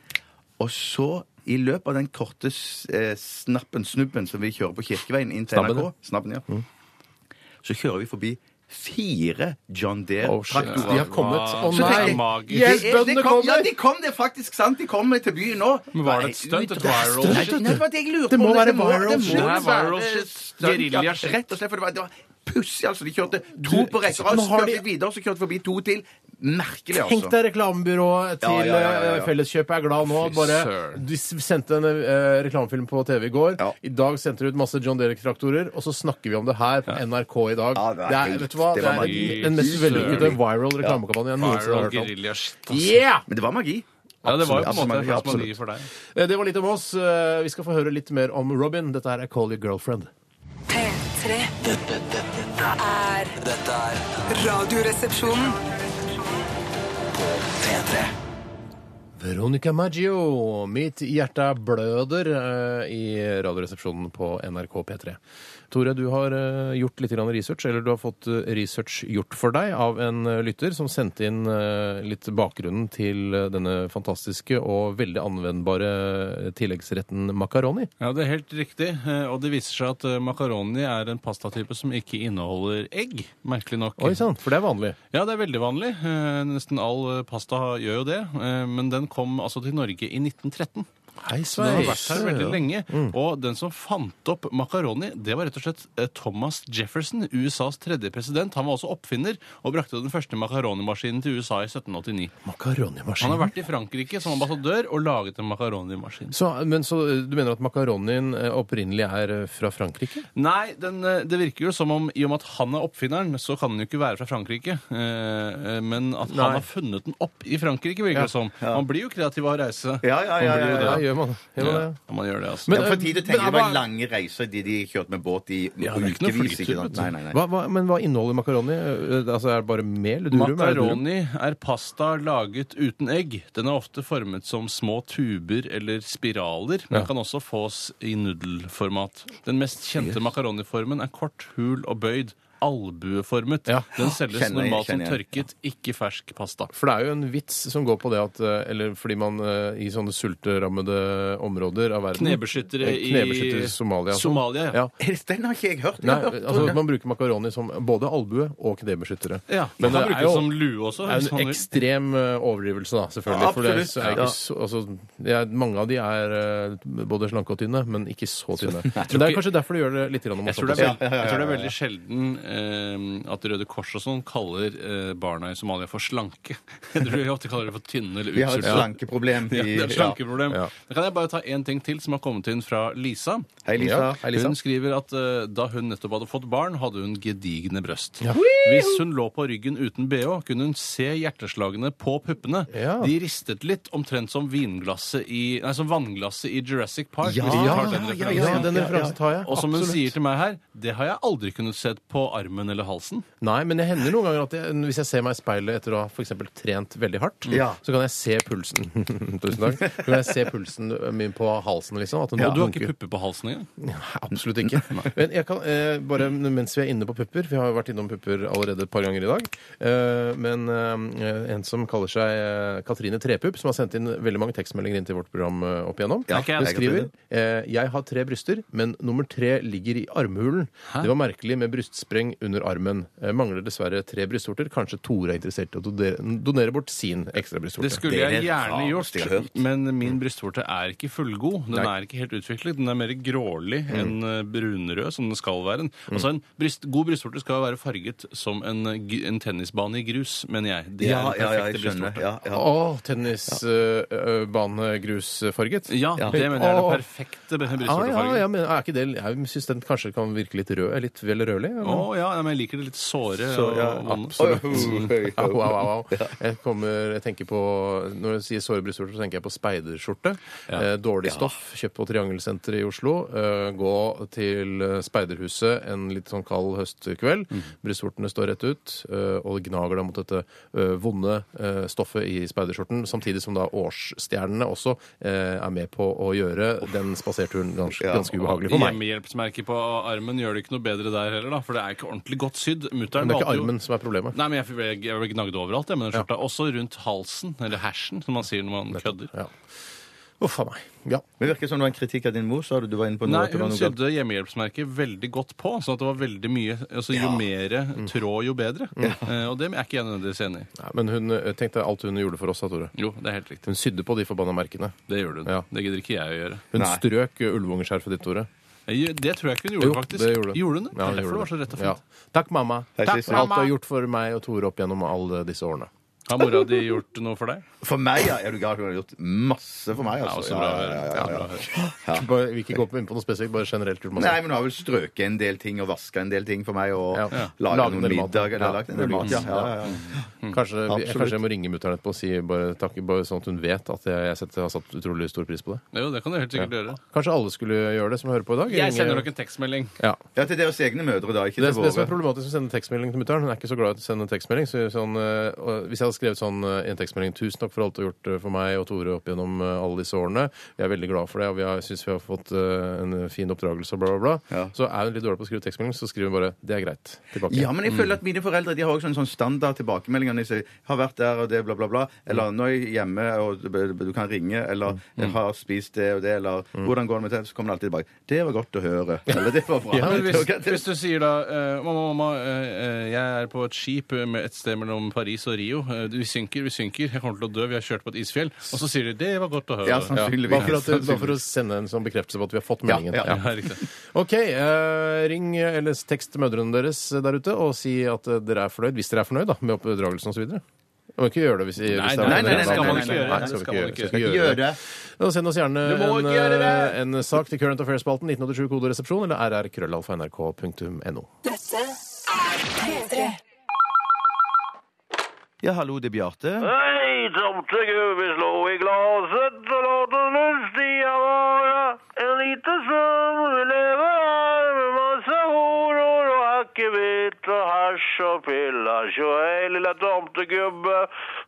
Og så, i løpet av den korte s- eh, snappen, snubben, som vi kjører på Kirkeveien inn til Snabben, NRK, ja. Mm. snabben, ja. så kjører vi forbi fire John Oh, shit. Deere-traktorer. De har kommet. Å Så tenker jeg- nei! Magisk. Det Hjelp, er- de bøndene kom, ja, kommer! de kom, det er faktisk sant. De kommer til byen nå. Men var det et stunt? Et viral Nei, shit? Nei, det var det jeg lurte Det må på. være viral det shit. Det må er være viral shit. stunt, ja. Guerilla shit. Rett og slett, for det var, det var pussig, altså. De kjørte to på rekke rad, Nå så har kjørte de- de videre, så kjørte de forbi to til. Merkelig, altså. Tenk deg reklamebyrået til Ja, ja, ja, ja, ja. eh, Felleskjøpet er glad nå. Fy Bare, søren. de s- sendte en eh, reklamefilm på TV i går. Ja. I dag sendte de ut masse John Derek-traktorer, og så snakker vi om det her på NRK i dag. Ja, det er, vet du hva? det Det var er magi. den mest Fy vellykkede søren. viral reklamekampanjen jeg noensinne Viral har hørt om. guerilla shit. Yeah! Men det var magi. Ja, det var jo på en Absolutt, måte en slags absolutt. magi for deg. Eh, Det var litt om oss. Eh, Vi skal få høre litt mer om Robin. Dette her er Call Your Girlfriend. P3 Dette, dette, er dette er Radioresepsjonen. P3. Veronica Maggio, 'Mitt hjerte bløder' eh, i Radioresepsjonen på NRK P3. Tore, du har eh, gjort litt grann research, eller du har fått eh, research gjort for deg av en eh, lytter som sendte inn eh, litt bakgrunnen til eh, denne fantastiske og veldig anvendbare eh, tilleggsretten makaroni. Ja, det er helt riktig. eh, Og det viser seg at eh, makaroni er en pastatype som ikke inneholder egg. Merkelig nok. Oi sann, for det er vanlig. Ja, det er veldig vanlig. Eh, Nesten all eh, pasta har- gjør jo det. Eh, Men den kom altså til Norge i 1913. Hei, Så den har vært her veldig lenge. Mm. Og den som fant opp makaroni, det var rett og slett eh, Thomas Jefferson, USAs tredje president. Han var også oppfinner og brakte den første makaronimaskinen til USA i 1789. Han har Makaronimaskinen. vært i Frankrike som ambassadør og laget en makaronimaskin. Så, men så eh, du mener at makaronien eh, opprinnelig er eh, fra Frankrike? Nei, den, eh, det virker jo som om i og med at han er oppfinneren, så kan den jo ikke være fra Frankrike. Eh, eh, Men at Nei. han har funnet den opp i Frankrike, virker det som. Man blir jo kreativ av å reise. Ja, ja, Man ja, blir jo ja, det. ja, gjør man, gjør man det? Ja, man gjør det, altså. Men- Ja, for tid å Men tenke, det var hva- lange reiser de, de kjørte med båt i Ja, det er ikke noe ukevis. flytur, Ikke sant? Nei, nei, nei. Hva, hva, men hva inneholder makaroni? Eh, Altså, er det bare mel? Durum? Er det durum? Macaroni er pasta laget uten egg. Den er ofte formet som små tuber eller spiraler, men Ja. kan også fås i nudelformat. Den mest kjente makaroniformen er kort, hul og bøyd. Albueformet. Ja. Den selges Kjenner jeg, normalt som kjenner jeg. tørket, ikke fersk pasta. For det er jo en vits som går på det at eh, Eller fordi man eh, i sånne sulterammede områder av verden Knebeskyttere Eh, i knebeskyttere i Somalia. og sånn. Somalia, ja. ja. Den har ikke jeg hørt. Jeg Nei, har hørt altså om Man bruker makaroni som både albue og knebeskyttere. Ja, Men man det bruker er jo som lue også. Det er hvis jo man en vil. ekstrem eh, overdrivelse, da, selvfølgelig. Ja, for det, absolutt. så er ikke så, altså, det er, mange av de er eh, både slanke og tynne, men ikke så tynne. Men det er ikke- kanskje derfor du gjør det litt grann Jeg morsomt. tror, det er også. altså. veld, jeg tror det er veldig sjelden eh, at Røde Kors og sånn kaller eh, barna i Somalia for slanke. Jeg tror de ofte kaller det for tynne eller Vi har et utsultede. slankeproblem. i- Ja, det er et slankeproblem. Ja. Da kan jeg bare ta én ting til som har kommet inn fra Lisa. Hei, Lisa. Ja, hei, Lisa. Hun skriver at eh, da hun nettopp hadde fått barn, hadde hun gedigne brøst. Hvis hun lå på ryggen uten bh, kunne hun se hjerteslagene på puppene. Ja. De ristet litt, omtrent som, vinglasset i, nei, som vannglasset i Jurassic Park. Ja, hvis du tar den ja, Ja, ja, referansen. den referansen tar jeg. Og som hun Absolutt. sier til meg her, det har jeg aldri kunnet sett på armen eller halsen. Nei, men det hender noen ganger at jeg, hvis jeg ser meg i speilet etter å ha for eksempel trent veldig hardt, Ja. så kan jeg se pulsen Tusen takk. Så kan jeg se pulsen min på halsen, liksom. At den Og du har ikke dunker. pupper på halsen engang. Absolutt ikke. Men jeg kan, eh, bare mens vi er inne på pupper Vi har jo vært innom pupper allerede et par ganger i dag. Eh, men eh, en som kaller seg eh, Katrine Trepupp, som har sendt inn veldig mange tekstmeldinger inn til vårt program eh, opp igjennom, Ja, ikke jeg, hun skriver eh, Jeg har tre bryster, men nummer tre ligger i armhulen. Det var merkelig med brystspreng under armen. Eh, mangler dessverre tre brystvorter. Kanskje Tore er interessert i å donere, donere bort sin ekstra brystvorte. Det skulle Det er jeg det gjerne rareste jeg har gjort, hørt. men min brystvorte er ikke fullgod. Den er ikke helt utviklet. Den er mer grålig Mm. enn eh, brunrød, som den skal være. Altså, en bryst, god brystvorte skal være farget som en, eh, g- en tennisbane i grus, mener jeg. Det er Ja, den ja, ja, jeg perfekte skjønner. brystvorte. Ja, ja. Å, tennisbanegrusfarget. Ja, det mener jeg er den perfekte br- Ja, Ah, ja, brystvortefargen. jeg mener, er ikke det, jeg syns den kanskje kan virke litt rød. Litt vel rødlig. eller? Å ja, ja, men jeg liker det litt såre. Så, ja, og vonde. Oi, ho, høy, Au, au, høy. au, au. Jeg, kommer, jeg tenker på, Når jeg sier såre brystvorter, så tenker jeg på speiderskjorte. Eh, dårlig stoff, kjøpt på Triangelsenteret i Oslo. Eh, gå til eh, speiderhuset en litt sånn kald høstkveld. Mhm. Brystvortene står rett ut, eh, og det gnager deg mot dette eh, vonde eh, stoffet i speiderskjorten. Samtidig som da årsstjernene også eh, er med på å gjøre den spaserturen ganske, ganske ubehagelig for meg. Hjemmehjelpsmerket på armen gjør det ikke noe bedre der heller, da, for det er ikke ordentlig godt sydd. Mutteren Men det er ikke valgte jo- armen som er problemet. Nei, men jeg ble, jeg ble gnagd overalt, jeg, med den skjorta. Også rundt halsen, eller hersen, som man sier når man kødder. Ja. Uff a meg. Ja. Men Det virker som det var en kritikk av din mor, sa du. Du var inne på noe, Nei, at det var hun noe galt. sydde hjemmehjelpsmerket veldig godt på, sånn at det var veldig mye altså Jo mere tråd, jo bedre. Eh, og det er ikke jeg nødvendigvis enig i. Nei, men hun eh, tenkte alt hun gjorde for oss, da, Tore. Jo, det er helt riktig. Hun sydde på de forbanna merkene. Det gjør hun. Ja. Det gidder ikke jeg å gjøre. Hun Nei. strøk eh, ulveungeskjerfet ditt, Tore. Jeg- Det tror jeg ikke hun gjorde, faktisk. det gjorde hun. hun det? Ja, det er derfor det gjorde var så rett og Ja. fint. Takk, mamma. Hei, Takk Sissy. for alt du har gjort for meg og Tore opp gjennom alle disse årene. Har mora di gjort noe for deg? For meg, ja. Er du gal? Hun har gjort masse for meg, Ja, altså. også bra å høre. ja, ja. Bra å høre. Bare, vi ikke gå inn på noe spesifikt, bare generelt. gjort masse. Nei, men hun har vel strøket en del ting og vaska en del ting for meg og Ja. laget Laget en noen del mat. Ja, middager. Ja. Laget en del mat. Ja, ja, ja, ja. Kanskje, vi, Absolutt. kanskje jeg må ringe mutter'n etterpå og si bare, takk, bare sånn at hun vet at jeg, jeg setter, har satt utrolig stor pris på det. Jo, det kan du helt sikkert gjøre. Kanskje alle skulle gjøre det som hører på i dag? Jeg Ringe- sender dere en tekstmelding. ja. ja, til deres egne mødre, da. Ikke Det, til det som er våre. problematisk med å sende tekstmelding til mutter'n Hun er ikke så glad i å sende tekstmelding. Så sånn, eh, og hvis jeg hadde skrevet sånn eh, i en tekstmelding 'Tusen takk for alt du har gjort eh, for meg og Tore opp gjennom eh, alle disse årene', 'Jeg er veldig glad for det, og vi har- syns vi har fått eh, en fin oppdragelse', og bla, bla, bla, Ja. så er hun litt dårlig på å skrive tekstmelding, så skriver hun bare 'Det er greit'. Tilbake. Ja, men jeg føler at mine foreldre de har også en sånn standard tilbakemelding. når de sier, har vært der og det, bla, bla, bla. Eller nå er jeg hjemme, og du- du kan ringe. Eller jeg har spist det og det, eller hvordan går det med det? Så kommer det alltid tilbake. Det var godt å høre. Eller det var bra. Ja, men hvis, Det var- hvis du sier da eh, Mamma, mamma, eh, eh, jeg er på et skip eh, med et sted mellom Paris og Rio. Eh, Vi synker, vi synker. Jeg kommer til å dø. Vi har kjørt på et isfjell. Og så sier de 'det var godt å høre'. Ja, Ja, sannsynligvis. bare, for at, bare for å sende en sånn bekreftelse på at vi har fått meldingen. ja, Ja, riktig. OK. eh, ring eh, eller tekst mødrene deres der ute og si at eh, dere er fornøyd, hvis dere er fornøyd da, med oppdragelsen osv. Du må ikke gjøre det hvis, hvis Nei, det er nei, det nei, det skal man ikke gjøre. Nei, Det skal skal vi man ikke ikke gjøre. Skal vi ikke Gjør gjøre det. det. Da Send oss gjerne Du må en, ikke gjøre eh, en sak til Current Affairs-spalten 1987 koderesepsjon eller rrkrøllalfa.nrk.no. Ja, hallo, det er Bjarte. Hei, tomtegubbe, slå i glaset og la det lyst i som lever av masse horor og akevitt og hasj og pillers og ei lilla tomtegubbe.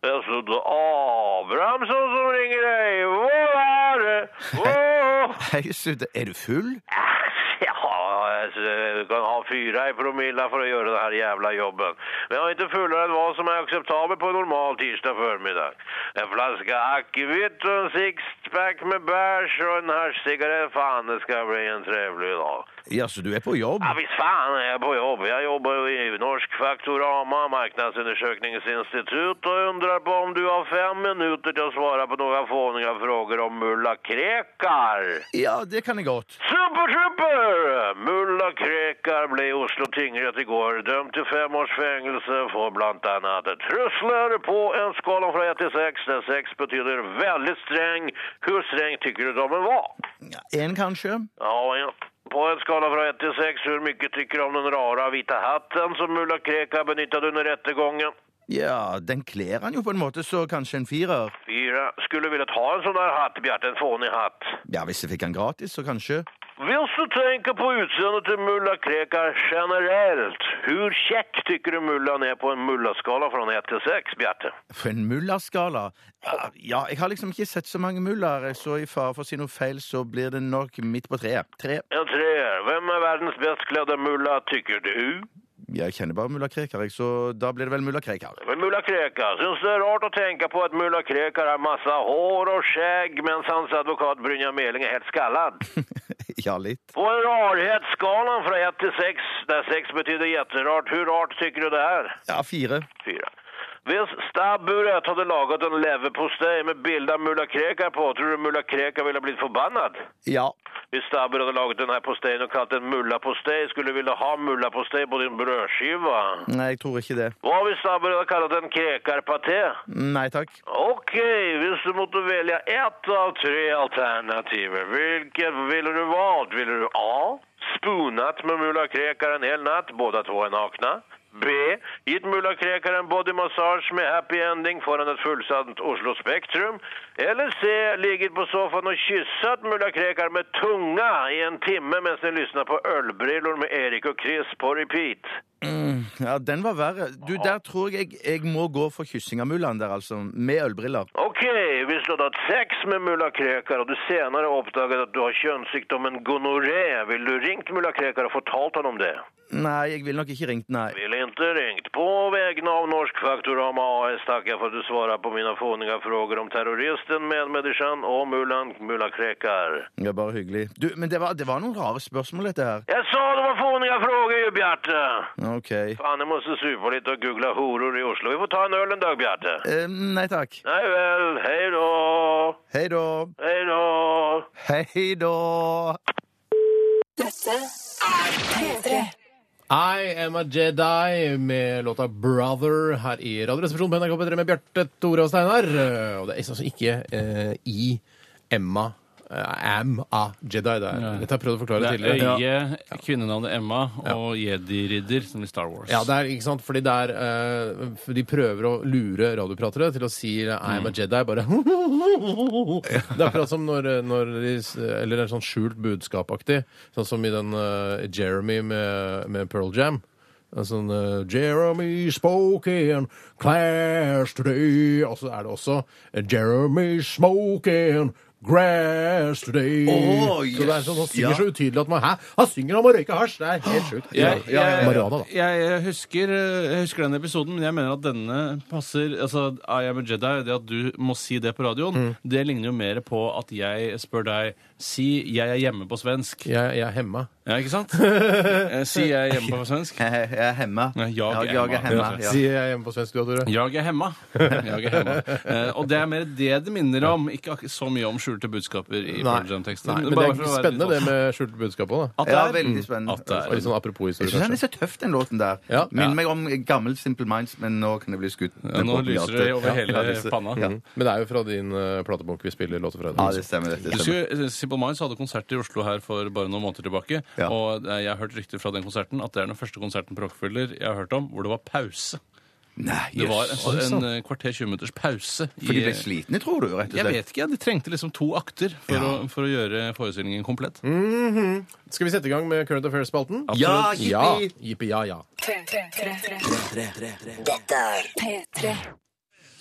Det er sånn Abrahamsson som ringer deg. Hvor er det? Hvor? Hei, Sudde, er du full? Ja, alltså, du eh, kan ha fyra i promilla för att göra den här jävla jobben. Men jag är inte fullare än vad som är acceptabelt på en normal tisdag förmiddag. En flaska akvavit och en sixpack med bärs och en haschcigarett. Fan, det ska bli en trevlig dag. Jaså, du er på jobb? Ja, visst fan är jag på jobb. Jag jobbar ju i Norsk Faktorama, marknadsundersökningsinstitut och undrar på om du har fem minuter till att svara på några fåniga frågor om mulla krekar. Ja, det kan jeg godt. Super, super! Mulla Krekar ble i Oslo tingrett i går dømt til fem års fengelse for blant annet trusler på en skala fra 1 til 6, der 6 betyr veldig streng. Hvor streng tykker du dommen var? En, kanskje? Ja, ja. På en skala fra 1 til 6, hvor mye tykker du om den rare hvite hatten som Mulla Krekar benyttet under rettegången? Ja, den kler han jo på en måte, så kanskje en firer. Fire. Skulle villet ha en sånn der hatt, Bjarte, en fånig hatt. Ja, hvis jeg fikk han gratis, så kanskje. Hvis du tenker på utseendet til mulla Krekar generelt, hvor kjekk tykker du mullaen er på en mullaskala fra 1 til 6, Bjarte? For en mullerskala. Ja, jeg har liksom ikke sett så mange muller, så i fare for å si noe feil, så blir det nok midt på treet. Tre. En treer. Hvem er verdens best kledde mulla, tykker du? Jeg kjenner bare mulla Krekar, jeg, så da blir det vel mulla Krekar. Men Mulla Krekar, syns det er rart å tenke på at mulla Krekar har masse hår og skjegg, mens hans advokat Brynja Meling er helt skallad? Ja, litt. På rarhetsskalan fra 1 til 6, der 6 betyder jätterart, hur rart tycker du det är? Ja, fire. 4. Hvis stabburet hadde laget en leverpostej med bilder av Mulla Krekar på, tror du Mulla Krekar ville blitt förbannad? Ja. Hvis stabburet hadde laget denne postejen og kalt den mullapostej, skulle du ville ha mullapostej på din brødskiva. Nei, jeg tror ikke det. Hva hvis stabburet hadde kallet den krekarpaté? Nei takk. Ok, hvis du måtte velge ett av tre alternativer, hvilket ville du valt? Ville du A. Spoonat med mulla Krekar en hel natt, båda två är nakna. B. Gitt mulla Krekar en bodymassage med happy ending foran et fullsatt Oslo Spektrum. Eller C. Ligget på sofaen og kysset mulla Krekar med tunga i en timme mens ni lyssnar på ølbrillor med Erik og Chris på repeat. Ja, den var verre. Du, der tror jeg jeg må gå for kyssing av mullaen der, altså. Med ølbriller. Ok, hvis du hadde hatt sex med mulla Krekar, og du senere oppdaget at du har kjønnssykdommen gonoré, ville du ringt mulla Krekar og fortalt han om det? Nei, jeg ville nok ikke ringt, nei. Ville ikke ringt. På vegne av Norsk Faktorama AS takker jeg for at du svarer på mine fåninga frågor om terroristen, medmänniskan og mullan mulla Krekar. Det var bare hyggelig. Du, men det var, det var noen rare spørsmål, dette her. Jeg sa det var fåninga frågor ju, Bjarte! OK. Fan, jeg måste supa litt og googla horor i Oslo. Vi får ta en øl en dag, Bjarte. Eh, nei takk. Nei vel, hei då. Hei da. Hei då. Hei da. I am a Jedi med låta 'Brother' her i Radioresepsjonen på NRK P3 med Bjarte, Tore og Steinar. Eh, Og det er altså ikke eh, i Emma eh, am a Jedi. Det er. Dette har jeg prøvd å forklare Det er tidligere. øye, kvinnenavnet Emma og jedi-ridder, som i Star Wars. Ja, det er, ikke sant? Fordi det er, eh, for de prøver å lure radiopratere til å si eh, 'I Mm. am a Jedi'. Bare Det er akkurat som når, eh, når de s- Eller det er sånn skjult budskapaktig. Sånn som i den eh, Jeremy med, med Pearl Jam. Det er Sånn, eh, Jeremy spoke in class today Og så er det også eh, Jeremy spoke in grass today. Å, Så det er sånn, Han synger yes, ja. så utydelig at man Hæ? Han synger om å røyke hasj! Det er helt sjukt. Jeg, jeg, Mariana, da. jeg, jeg, husker, eh, jeg husker den episoden, men jeg mener at denne passer Altså, I am a Jedi, det at du må si det på radioen, Mm. det ligner jo mer på at jeg spør deg Si 'jeg er hjemme' på svensk. Jeg, jeg er hemma. Ja, ikke sant? Eh, Si 'jeg er hjemme' på svensk. Jeg jeg er hemma. Nei, jeg er jeg er hemma. hemma. Ja. Sier jeg hjemme på svensk, du, Tore. Jag er hemma. Jeg er hemma. Eh, og det er mer det det minner om, ikke ak- så mye om skjulte budskaper i Pearl Jam-teksten. Nei, men det Bare er for å være spennende det litt med skjult budskap òg, da. sånn- Ja, At det er veldig spennende. At det Og Litt er sånn apropos Jeg syns historie, den er kanskje. så tøff, den låten der. Ja. Minner Ja. meg om gammel Simple Minds, men nå kan det bli skutt. ja, Nå lyser det over Ja, hele ja, lyser. panna. Ja. Men det er jo fra din eh, platebunk vi spiller låter fra. Ja, det stemmer. Det, det Jeg stemmer. husker Simple Minds hadde konsert i Oslo her for bare noen måneder tilbake. Ja. Og eh, jeg har hørt rykter fra den konserten at det er den første konserten på Rockefeller jeg har hørt om hvor det var pause. Nei, Det var jøss. altså en eh, kvarter 20 minutters pause. i- For de ble slitne, tror du? rett og Jeg slett. vet ikke, ja. De trengte liksom to akter for, å, for å gjøre forestillingen komplett. Mm. Skal vi sette i gang med Current Affairs-spalten? Ja, Ja. jippi! Jippi, ja, ja. Dette er P3.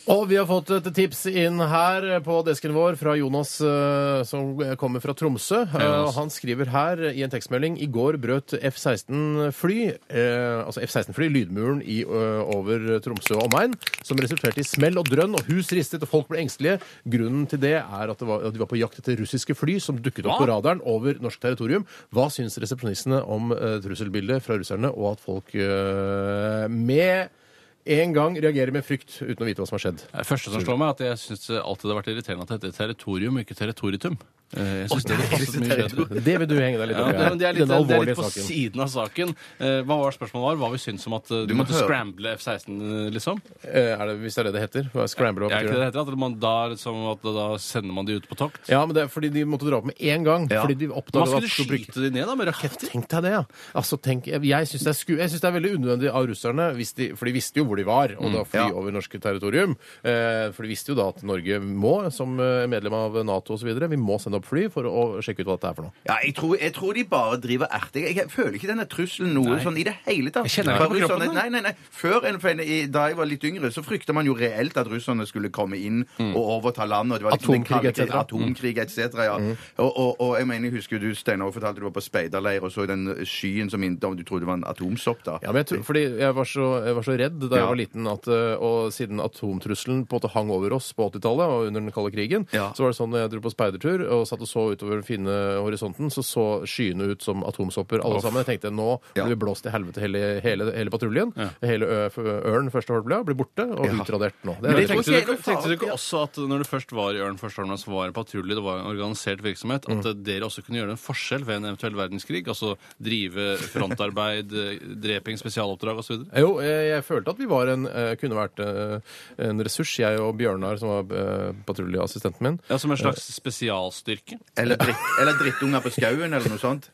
Og vi har fått et tips inn her på desken vår fra Jonas, eh, som kommer fra Tromsø. Eh, Jonas. og Han skriver her i en tekstmelding I går brøt F-16-fly eh, altså F-16-fly lydmuren i, eh, over Tromsø og omegn, som resulterte i smell og drønn, og hus ristet, og folk ble engstelige. Grunnen til det er at det var, at de var på jakt etter russiske fly som dukket opp Hva? på radaren over norsk territorium. Hva syns resepsjonistene om eh, trusselbildet fra russerne, og at folk eh, med en gang reagerer med frykt uten å vite hva som har skjedd. Det første som slår meg, er at jeg syns alltid det har vært irriterende at det heter territorium, og ikke territoritum. Eh, Jeg synes det hadde passet mye bedre. Det vil du henge deg litt Ja, opp i. det, men det, er litt, Denne det er alvorlige litt på saken. siden av saken. Eh, hva var spørsmålet var? Hva vi syns om at eh, du må måtte høre. scramble F-16, eh, liksom? Eh, Er det, hvis det er det det heter. Hva- Scramble, hva Er ikke betyr det det? det heter? At, man, da, liksom, at da sender man de ut på tokt? Ja, men det er fordi de måtte dra opp med en gang. Ja. Fordi de Man oppdaget skulle at så brukte skyte de ned da, med raketter? Tenk deg det, ja. Altså, tenk, jeg jeg syns det, er sku- jeg synes det er veldig unødvendig av russerne, hvis de, for de visste jo hvor de var, og da fly ja. over norsk territorium. Eh, for de visste jo da at Norge må, som eh, medlem av Nato osv., vi må sende opp fly for å sjekke ut hva dette er for noe. Ja, jeg tror, jeg tror de bare driver erting. Jeg jeg føler ikke denne trusselen noe sånn i det hele tatt. Jeg kjenner det Fra ikke på kroppen, russerne- Nei, nei, nei. Før, en- for en- i- da jeg var litt yngre, så frykta man jo reelt at russerne skulle komme inn og overta landet. og det var liksom den Mm. Atomkrig, kalde et krig- cetera. Mm. Atomkrig etc. Ja. Og, og, og jeg mener, jeg husker du, Steinar, fortalte du var på speiderleir og så den eh, skyen som inne, du trodde var en atomsopp. da. Ja, men jeg tror, fordi jeg var, så, jeg var så redd da jeg Ja. var liten, at, eh, og siden atomtrusselen på en måte hang over oss på 80-tallet og under den kalde krigen, Ja. så var det sånn når jeg dro på speidertur og satt og så utover den fine horisonten, så så skyene ut som atomsopper alle sammen. Jeg tenkte nå Ja. blir vi blåst til helvete hele, hele, hele patruljen. Hele ø- f- ørn første håndblad blir borte og Ja. utradert nå. Men er det veldig tror fint. Tenkte du, ikke- ikke jeg er noe tenkte du ikke farlig. også at når du først var i Ørn Første Armlands, var en patrulje, det var en organisert virksomhet, at eh, dere også kunne gjøre en forskjell ved en eventuell verdenskrig? Altså drive frontarbeid, eh, dreping, spesialoppdrag osv.? Jo, jeg, jeg følte at vi var en, eh, kunne vært eh, en ressurs, jeg og Bjørnar, som var eh, patruljeassistenten min. Ja, som en slags Eh, spesialstyrke? Eller, dritt, eller drittunger på skauen, eller noe sånt.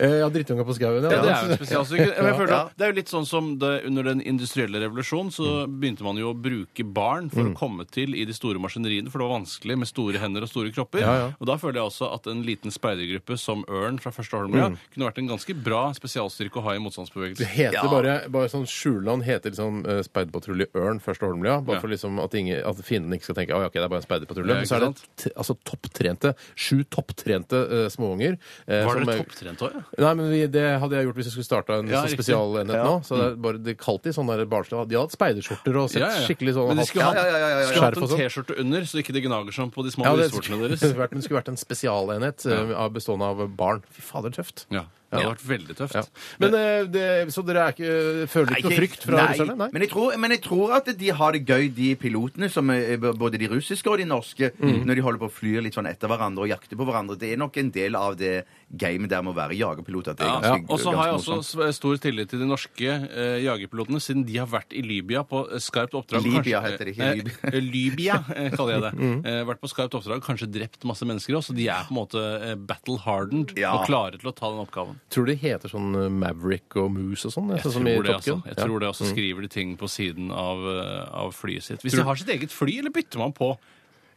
Eh, Ja, drittunga på skauen. Ja, det er jo en spesialstyrke. Men jeg føler Ja. at det er jo litt sånn som det, under den industrielle revolusjonen så Mm. begynte man jo å bruke barn for å komme til i de store maskineriene, for det var vanskelig med store hender og store kropper. Ja, ja. Og da føler jeg også at en liten speidergruppe som Ørn fra Første Holmlia kunne vært en ganske bra spesialstyrke å ha i Mm. Det motstandsbevegelsen. heter bare, bare sånn Skjuland heter liksom eh, speiderpatrulje Ørn først og Holmlia. Bare Ja. for liksom at, ingen, at fienden ikke skal tenke at ok, det er bare en speiderpatrulje. Ja, Men så er det ikke t altså topptrente, sju topptrente eh, småunger. eh, Var som dere er- topptrent òg? Nei, men vi, Det hadde jeg gjort hvis jeg skulle starta en Ja, sånn riktig. spesialenhet nå. Så det er bare det kalte de sånn der barnslig. De hadde hatt speiderskjorter og sett skikkelig sånn Men de hatt- skulle hatt, Ja, ja, ja, ja, ja. skulle hatt Skjerf en og sånn. T-skjorte under, så ikke det gnager sånn på de små ja, det brystvortene skulle, deres. vært, men det skulle vært en spesialenhet eh, av- bestående av barn. Fy fader, tøft. Ja, det hadde vært veldig tøft. Ja. Men, eh, det, så dere er ikke, føler ikke noe frykt fra nei. russerne? Nei. Men jeg, tror, men jeg tror at de har det gøy, de pilotene, som er, både de russiske og de norske, Mm. når de holder på å fly litt sånn etter hverandre og jakter på hverandre. Det er nok en del av det gamet der med å være jagerpilot. At det er Ja. ganske, Og så ganske har jeg også morsomt. s- stor tillit til de norske eh, jagerpilotene, siden de har vært i Libya på eh, skarpt oppdrag. Libya Kanskje- heter det, ikke eh, Libya. eh, Libya eh, kaller jeg det. Mm. Eh, vært på skarpt oppdrag, kanskje drept masse mennesker også. De er på en måte eh, battle hardened Ja. og klare til å ta den oppgaven. Tror du det heter sånn eh, Maverick og Moose og sånn? Jeg sånn tror, som i det, Top altså. Gun? jeg Ja. Mm. tror det også skriver de ting på siden av, eh, av flyet sitt. Hvis de har sitt eget fly, eller bytter man på?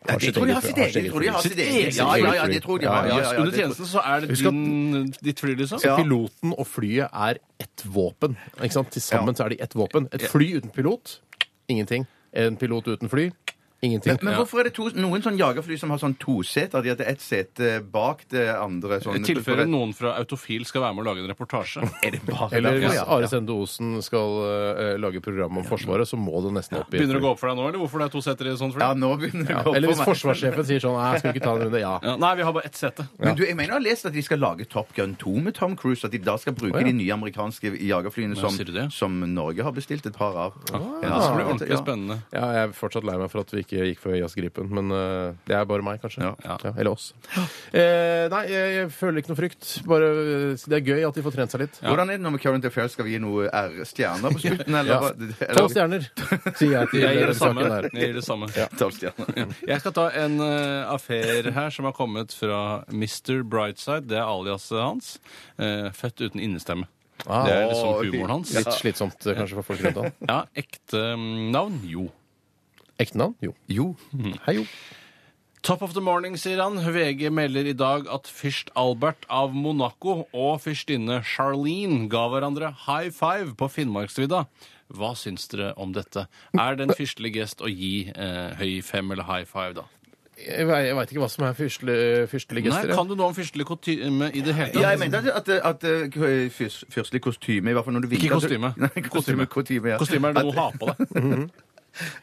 Ja, det tror jeg har sitt eget. Jeg tror de har sitt eget. Ja, ja, ja, det tror de har. Ja, ja, ja, Under det tror- tjenesten så er det Husk at- din, ditt fly, liksom? Så piloten og flyet er ett våpen. Ikke sant? Til sammen så er de ett våpen. Et fly uten pilot ingenting. En pilot uten fly ingenting. Men hvorfor er det to, noen sånn jagerfly som har sånn toseter? De har ett sete bak det andre. I Sånn, tilfelle noen fra Autofil skal være med og lage en reportasje. Er det bare Eller derfor, hvis ja? Are Sende Osen skal eh, lage program om Forsvaret, så må det nesten opp i Begynner det å gå opp for deg nå, eller hvorfor det er to setter i et sånt fly? Ja, nå begynner det å gå Eller hvis opp for meg. forsvarssjefen sier sånn Nei, jeg skal ikke ta en runde. Ja. Ja, nei, vi har bare ett sete. Men du, jeg mener jeg har lest at de skal lage Top Gun 2 med Tom Cruise. At de da skal bruke Å, ja. de nye amerikanske jagerflyene som, sier du det? som Norge har bestilt et par av. Ja, det blir ordentlig Ja. spennende. Ja, jeg er fortsatt lei meg for at vi ikke gikk for jazzgripen, men eh, det er bare meg, kanskje. Ja. Ja. eller oss. Eh, nei, jeg, jeg føler ikke noe frykt. Bare, eh, det er gøy at de får trent seg litt. Hvordan er det nå med Current Affairs? Skal vi gi noe R-stjerner på slutten? Eller? Ja. hva? Tolv stjerner, sier jeg til Jeg gir det den samme. saken her. Jeg, gir det samme. Tolv stjerner. jeg skal ta en uh, affære her som har kommet fra Mr. Brightside. Det er aliaset hans. Eh, født uten innestemme. Ah, det er å, liksom ok. humoren hans. Litt slitsomt eh, kanskje for folk rundt han. Ja, ekte mm, navn? Jo. Ekte navn? Jo. Jo. Hei, jo. Top of the morning, sier han. VG melder i dag at fyrst Albert av Monaco og fyrstinne Charlene ga hverandre high five på Finnmarksvidda. Hva syns dere om dette? Er det en fyrstelig gest å gi eh, høy fem eller high five, da? Jeg, ve- jeg veit ikke hva som er fyrstelig- fyrstelige Nei, gester. jeg. kan du noe om fyrstelig kutyme i det hele Ja, tatt? jeg mente at, at, at eh, fyrs- fyrstelig kostyme i hvert fall når du vinker, Ikke kostyme. Nei, kostyme, kostyme, ja. Kostyme er det noe å ha på deg.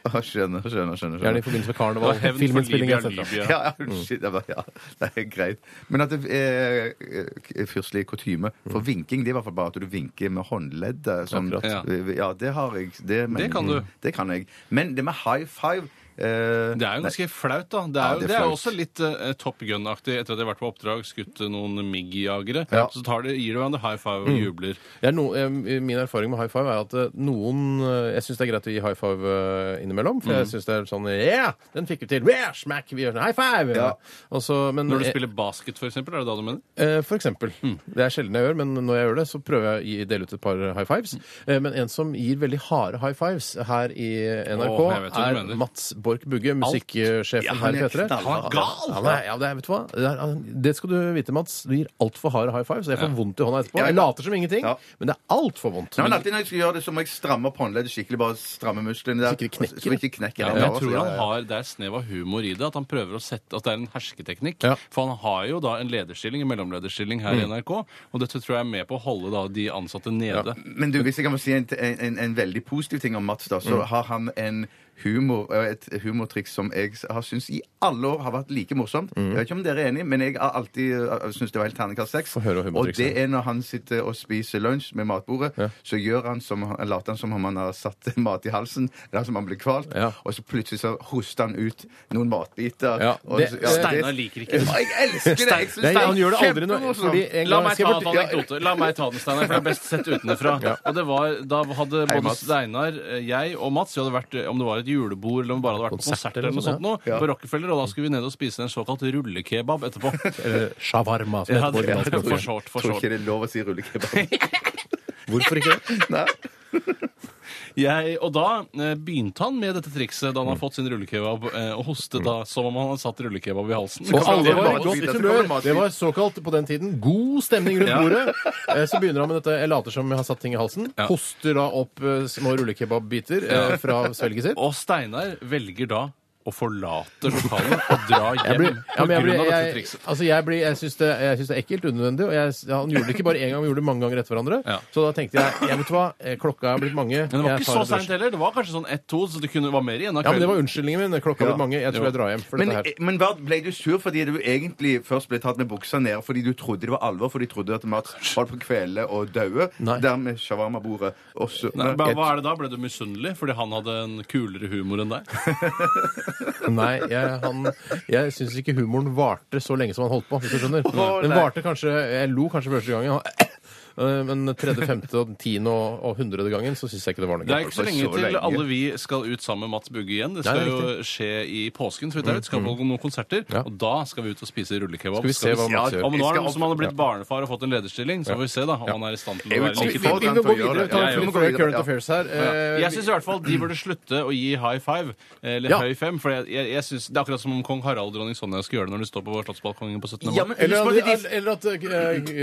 Ah, skjønner, skjønner, Gjerne skjønner. i skjønner. forbindelse med Det karneval. var hevn for filminnspilling, Libya. etc. Libya. Ja, ja, unnskyld. Det, var, ja, det er greit. Men at det er eh, fyrstelig kutyme for vinking, det er i hvert fall bare at du vinker med håndleddet. Som, ja. Akkurat. det har jeg. Det, mener jeg. kan du. Det kan jeg. Men det med high five eh, Det er jo nei, ganske flaut, da. Det er, jo- det er det er jo flaut. også litt eh, Top Gun-aktig. Etter at de har vært på oppdrag, skutt noen MIG-jagere, Ja. Mm. så tar de, gir de hverandre high five og jubler. Det er no, eh, min erfaring med high five er at eh, noen eh, Jeg syns det er greit å gi high five eh, innimellom, for jeg syns det er sånn Yeah! Den fikk vi til! Yeah, smack! Vi gjør sånn high five! Ja. Og så- men, Når du eh, spiller basket, for eksempel, er det da du mener? eh, For eksempel. Det er sjelden jeg gjør, men når jeg gjør det, så prøver jeg å gi- dele ut et par high fives. Eh, Men en som gir veldig harde high fives her i NRK, Åh, jeg vet hva du er mener. Mats Borch Bugge, musikksjefen Ja, her i P3. knallhard. Ja, nei, ja, det, er- vet du hva? Det, er, det skal du vite, Mats. Du gir altfor harde high fives. Jeg får vondt i hånda etterpå. Ja, Jeg ja. later som ingenting, Ja. men det er altfor vondt. Nei, men alltid når jeg skal gjøre det, så må jeg stramme opp håndleddet skikkelig. Bare stramme musklene der. Så ikke det knekker. Så ikke det knekker. Ja, men jeg Ja, altså, tror ja, han ja. har, Det er et snev av humor i det. At han prøver å sette, at det er en hersketeknikk. Ja. For han har jo da en lederstilling, en mellomlederstilling her i NRK. Og dette tror jeg er med på å holde da de ansatte nede. Men du, hvis jeg kan få si en, en, en, en veldig positiv ting om Mats, da, Mm. så har han en humor, eh, et humortriks som jeg har syntes i alle år har vært like morsomt. Mm. Jeg vet ikke om dere er enige, men jeg har alltid uh, syntes det var helt terningkast seks. Få høre Og humortrikset. det er når han sitter og spiser lunsj med matbordet, så gjør han som, han- later han som om han har satt mat i halsen, eller som om han blir kvalt, Ja. og så plutselig så hoster han ut noen matbiter. Ja, og det- så- Steinar liker ikke det. Å, Jeg elsker det! Jeg synes Nei, det er han gjør det aldri noe kjempemorsomt. fordi en La gang- meg skal ta jeg en anekdote. La meg ta den, Steinar, for det er best sett utenfra. Og det var, Da hadde Hei, både Mats. Steinar, eh, jeg og Mats vi hadde vært, eh, Om det var et julebord eller om vi bare hadde vært på konsert eller noe sånt nå, ja. på Rockefeller, og da skulle vi ned og spise en såkalt rullekebab etterpå. Eller shawarma, som Ja, heter på det- originalspråket. for short, for Tror short. ikke det er lov å si rullekebab. Hvorfor ikke det? Nei. Jeg, og da eh, begynte han med dette trikset da han Mm. har fått sin rullekebab eh, og hostet da som om han hadde satt rullekebab i halsen. Og alle det var bare i si det, godt så kommer det humør. mat- Det var såkalt på den tiden god stemning rundt bordet. Eh, Så begynner han med dette 'jeg later som jeg har satt ting i halsen'. Ja. Hoster da opp eh, små rullekebabbiter eh, fra svelget sitt. Og Steinar velger da å forlate lokalet og dra Jeg hjem blir, ja, men jeg, på blir, grunn av dette jeg, trikset. altså jeg, blir, jeg syns det, jeg syns det er ekkelt, unødvendig. Og jeg, ja, han gjorde det ikke bare én gang, han gjorde det mange ganger etter hverandre. Ja. Så da tenkte jeg ja, vet du hva, eh, klokka er blitt mange. Men det var jeg ikke tar så et drosje. seint heller. Det var kanskje sånn ett-to, så det kunne var mer igjen av Ja, men det var kvelden. unnskyldningen min. Klokka er blitt mange. Jeg tror Jo. jeg drar hjem. for Men, eh, dette her. men hva, ble du sur fordi du egentlig først ble tatt med buksa ned fordi du trodde det var alvor, fordi du trodde at Mats holdt på å kvele og daue? Nei. Der med shawarma-bordet. Og så- Nei, Nei, men jeg- hva er det da? Ble du misunnelig fordi han hadde en kulere humor enn deg? Nei, jeg, han- jeg syns ikke humoren varte så lenge som han holdt på. hvis du skjønner. Den nei. varte kanskje, Jeg lo kanskje første gangen. han- eh, Men tredje, femte, og tiende og og hundrede gangen så syns jeg ikke det var noe Det gøy. er ikke så for lenge så til lenge. alle vi skal ut sammen med Mats Bugge igjen. Det Nei, skal det er jo skje i påsken. så vidt jeg vet. Skal på noen konserter, Ja. og da skal vi ut og spise rullekebab. Skal vi se hva Mats gjør. Om nå er Jeg det skal noen som opp- hadde blitt barnefar og fått en lederstilling, så får vi se da om han er i stand til å Jeg vil være like ikke- til. Vi får må den til å gå gjøre videre. det. Ta Ja, en ja, film vi og får gå i videre, Current ja. Affairs her. Eh, Jeg syns i hvert fall de burde slutte å gi high five eller Ja. høy fem. For jeg, jeg, jeg synes, Det er akkurat som om kong Harald og dronning Sonja skal gjøre det når de står på slottsbalkongen på 17. mai. Ja, men Eller husk på det, at, de- eller at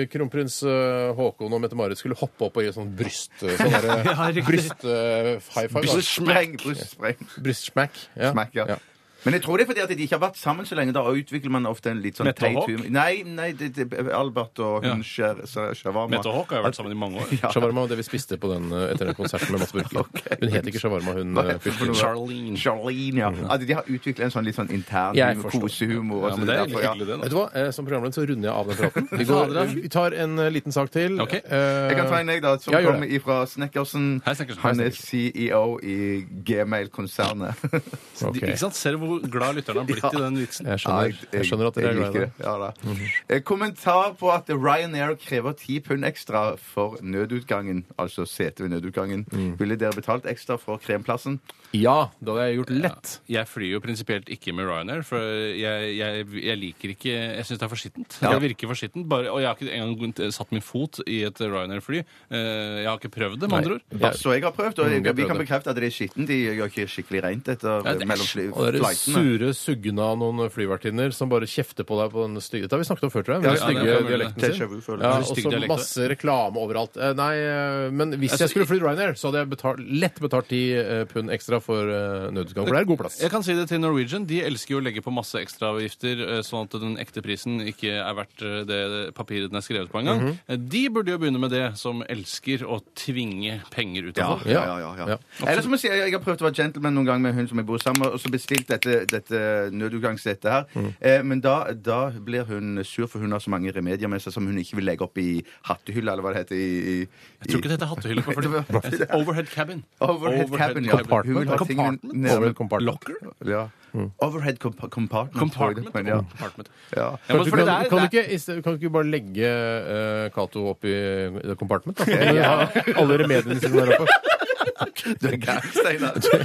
eh, kronprins eh, Haakon og Mette-Marit skulle hoppe opp og gi sånn bryst sånn der, Ja, riktig. bryst eh, high five. da. Brystspreng! brystspreng, Brystsmack. Ja. smack, ja. Ja. Men jeg tror det er fordi at de ikke har vært sammen så lenge. Da utvikler man ofte en litt sånn Mette og teit Håk? humor. Nei, nei det, det, Albert og hun skjer- så- shawarma. Mette og Håk har jo vært sammen i mange år. Shawarma var det vi spiste på den eh, etter den konserten med Mats Burke. Hun het ikke shawarma, hun eh, fyrsten. Charlene. Charlene, ja. At de har utviklet en sånn litt sånn intern Jeg humor, forstår. kosehumor. og Mm. Ja, så men det er derfor, egentlig ja. hyggelig, det. da. Vet du hva? Eh, Som programleder så runder jeg av den praten. Vi, går, vi tar en eh, liten sak til. Ok. Eh, Jeg kan ta en jeg, da, som Ja, gjør kommer det. ifra Snekkersen. Hei, Snekkersen. Han Hei, er CEO i Gmail-konsernet. Ok. De, ikke sant? Ser du hvor hvor glad lytterne har blitt i den vitsen. Jeg skjønner, jeg skjønner at dere er glad i Mhm. det. Ja, da. Eh, Kommentar på at Ryanair krever 10 pund ekstra for nødutgangen, altså setet ved nødutgangen. Mm. Ville dere betalt ekstra for kremplassen? Ja, det hadde jeg gjort lett. Jeg flyr jo prinsipielt ikke med Ryanair, for jeg, jeg, jeg liker ikke Jeg syns det er for skittent. Det virker for skittent. bare- Og jeg har ikke engang satt min fot i et Ryanair-fly. Eh, Jeg har ikke prøvd det, med andre ord. Ja. Så jeg har prøvd, og Mm, vi har vi prøvd kan det. bekrefte at det er skittent. De gjør ikke skikkelig rent etter Ja, det er- mellom fly- Og det er det flightene. sure suggen av noen flyvertinner som bare kjefter på deg på den stygge Det har vi snakket om før, tror jeg. Ja, Den ja, stygge det kan vi vel. dialekten sin. Déjà vu, føler Ja, og jeg. Stygg så dialekt, masse reklame overalt. Eh, Nei, eh, men hvis jeg skulle flydd Ryanair, så hadde jeg betalt, lett betalt 10 eh, pund ekstra for eh, nødutgang, for det er god plass. Jeg kan si det til Norwegian. De elsker jo å legge på masse ekstraavgifter, eh, sånn at den ekte prisen ikke er verdt eh, det papiret den er skrevet på engang. Eh, De burde jo begynne med det, som elsker å tvinge penger ut av folk. Ja, ja, ja, Ja. ja. Eller som jeg sier, jeg har prøvd å være gentleman noen gang med hun som jeg bor sammen med, og så bestilt dette, dette nødutgangssettet her. Eh, men da, da blir hun sur, for hun har så mange remedier med seg som hun ikke vil legge opp i hattehylla, eller hva det heter. I, i, Jeg tror ikke dette er hattehylle på Det var- fordi Overhead cabin. Overhead cabin, ja. Compartment. Hun vil ha tingene Compartment? ned- Overhead compartment. Locker? Ja. Overhead compa- compartment. tror jeg det- Compartment. men ja. Compartment. Ja. Ja, men Du fordi kan, det er- kan, du det er- ikke, i sted- kan du ikke bare legge eh, Cato opp i det compartment? Da? Ja, alle remediene sine der oppe. Du er gæren, Steinar.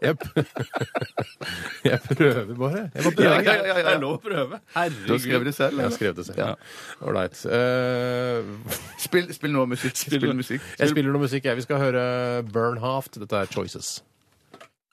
Jeg, p- jeg prøver bare. Jeg bare prøver. Ja, ja, ja, Det ja. er lov å prøve. Du har skrevet Herregud. det selv. Jeg eller? skrev det selv. Ålreit. Eh, Spill, spill noe musikk. Spill musikk. jeg spiller noe musikk, jeg. Vi skal høre Bernhaft. Dette er Choices.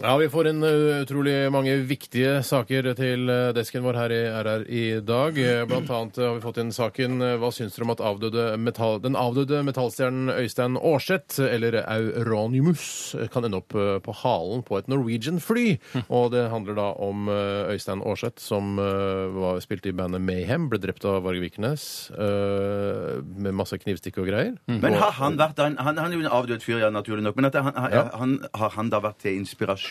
Ja, vi får inn uh, utrolig mange viktige saker til uh, desken vår her i RR i dag. Eh, Blant annet uh, har vi fått inn saken eh, Hva syns dere om at avdøde metall, den avdøde metallstjernen Øystein Aarseth, eh, eller Euronimus, eh, kan ende opp eh, på halen på et Norwegian-fly? Hm. Og det handler da om eh, Øystein Aarseth, som eh, var, spilte i bandet Mayhem, ble drept av Varg Vikernes eh, med masse knivstikk og greier. Men har han vært han, han, han er jo en avdød fyr, ja, naturlig nok. Men at han, han, han, har han da vært til inspirasjon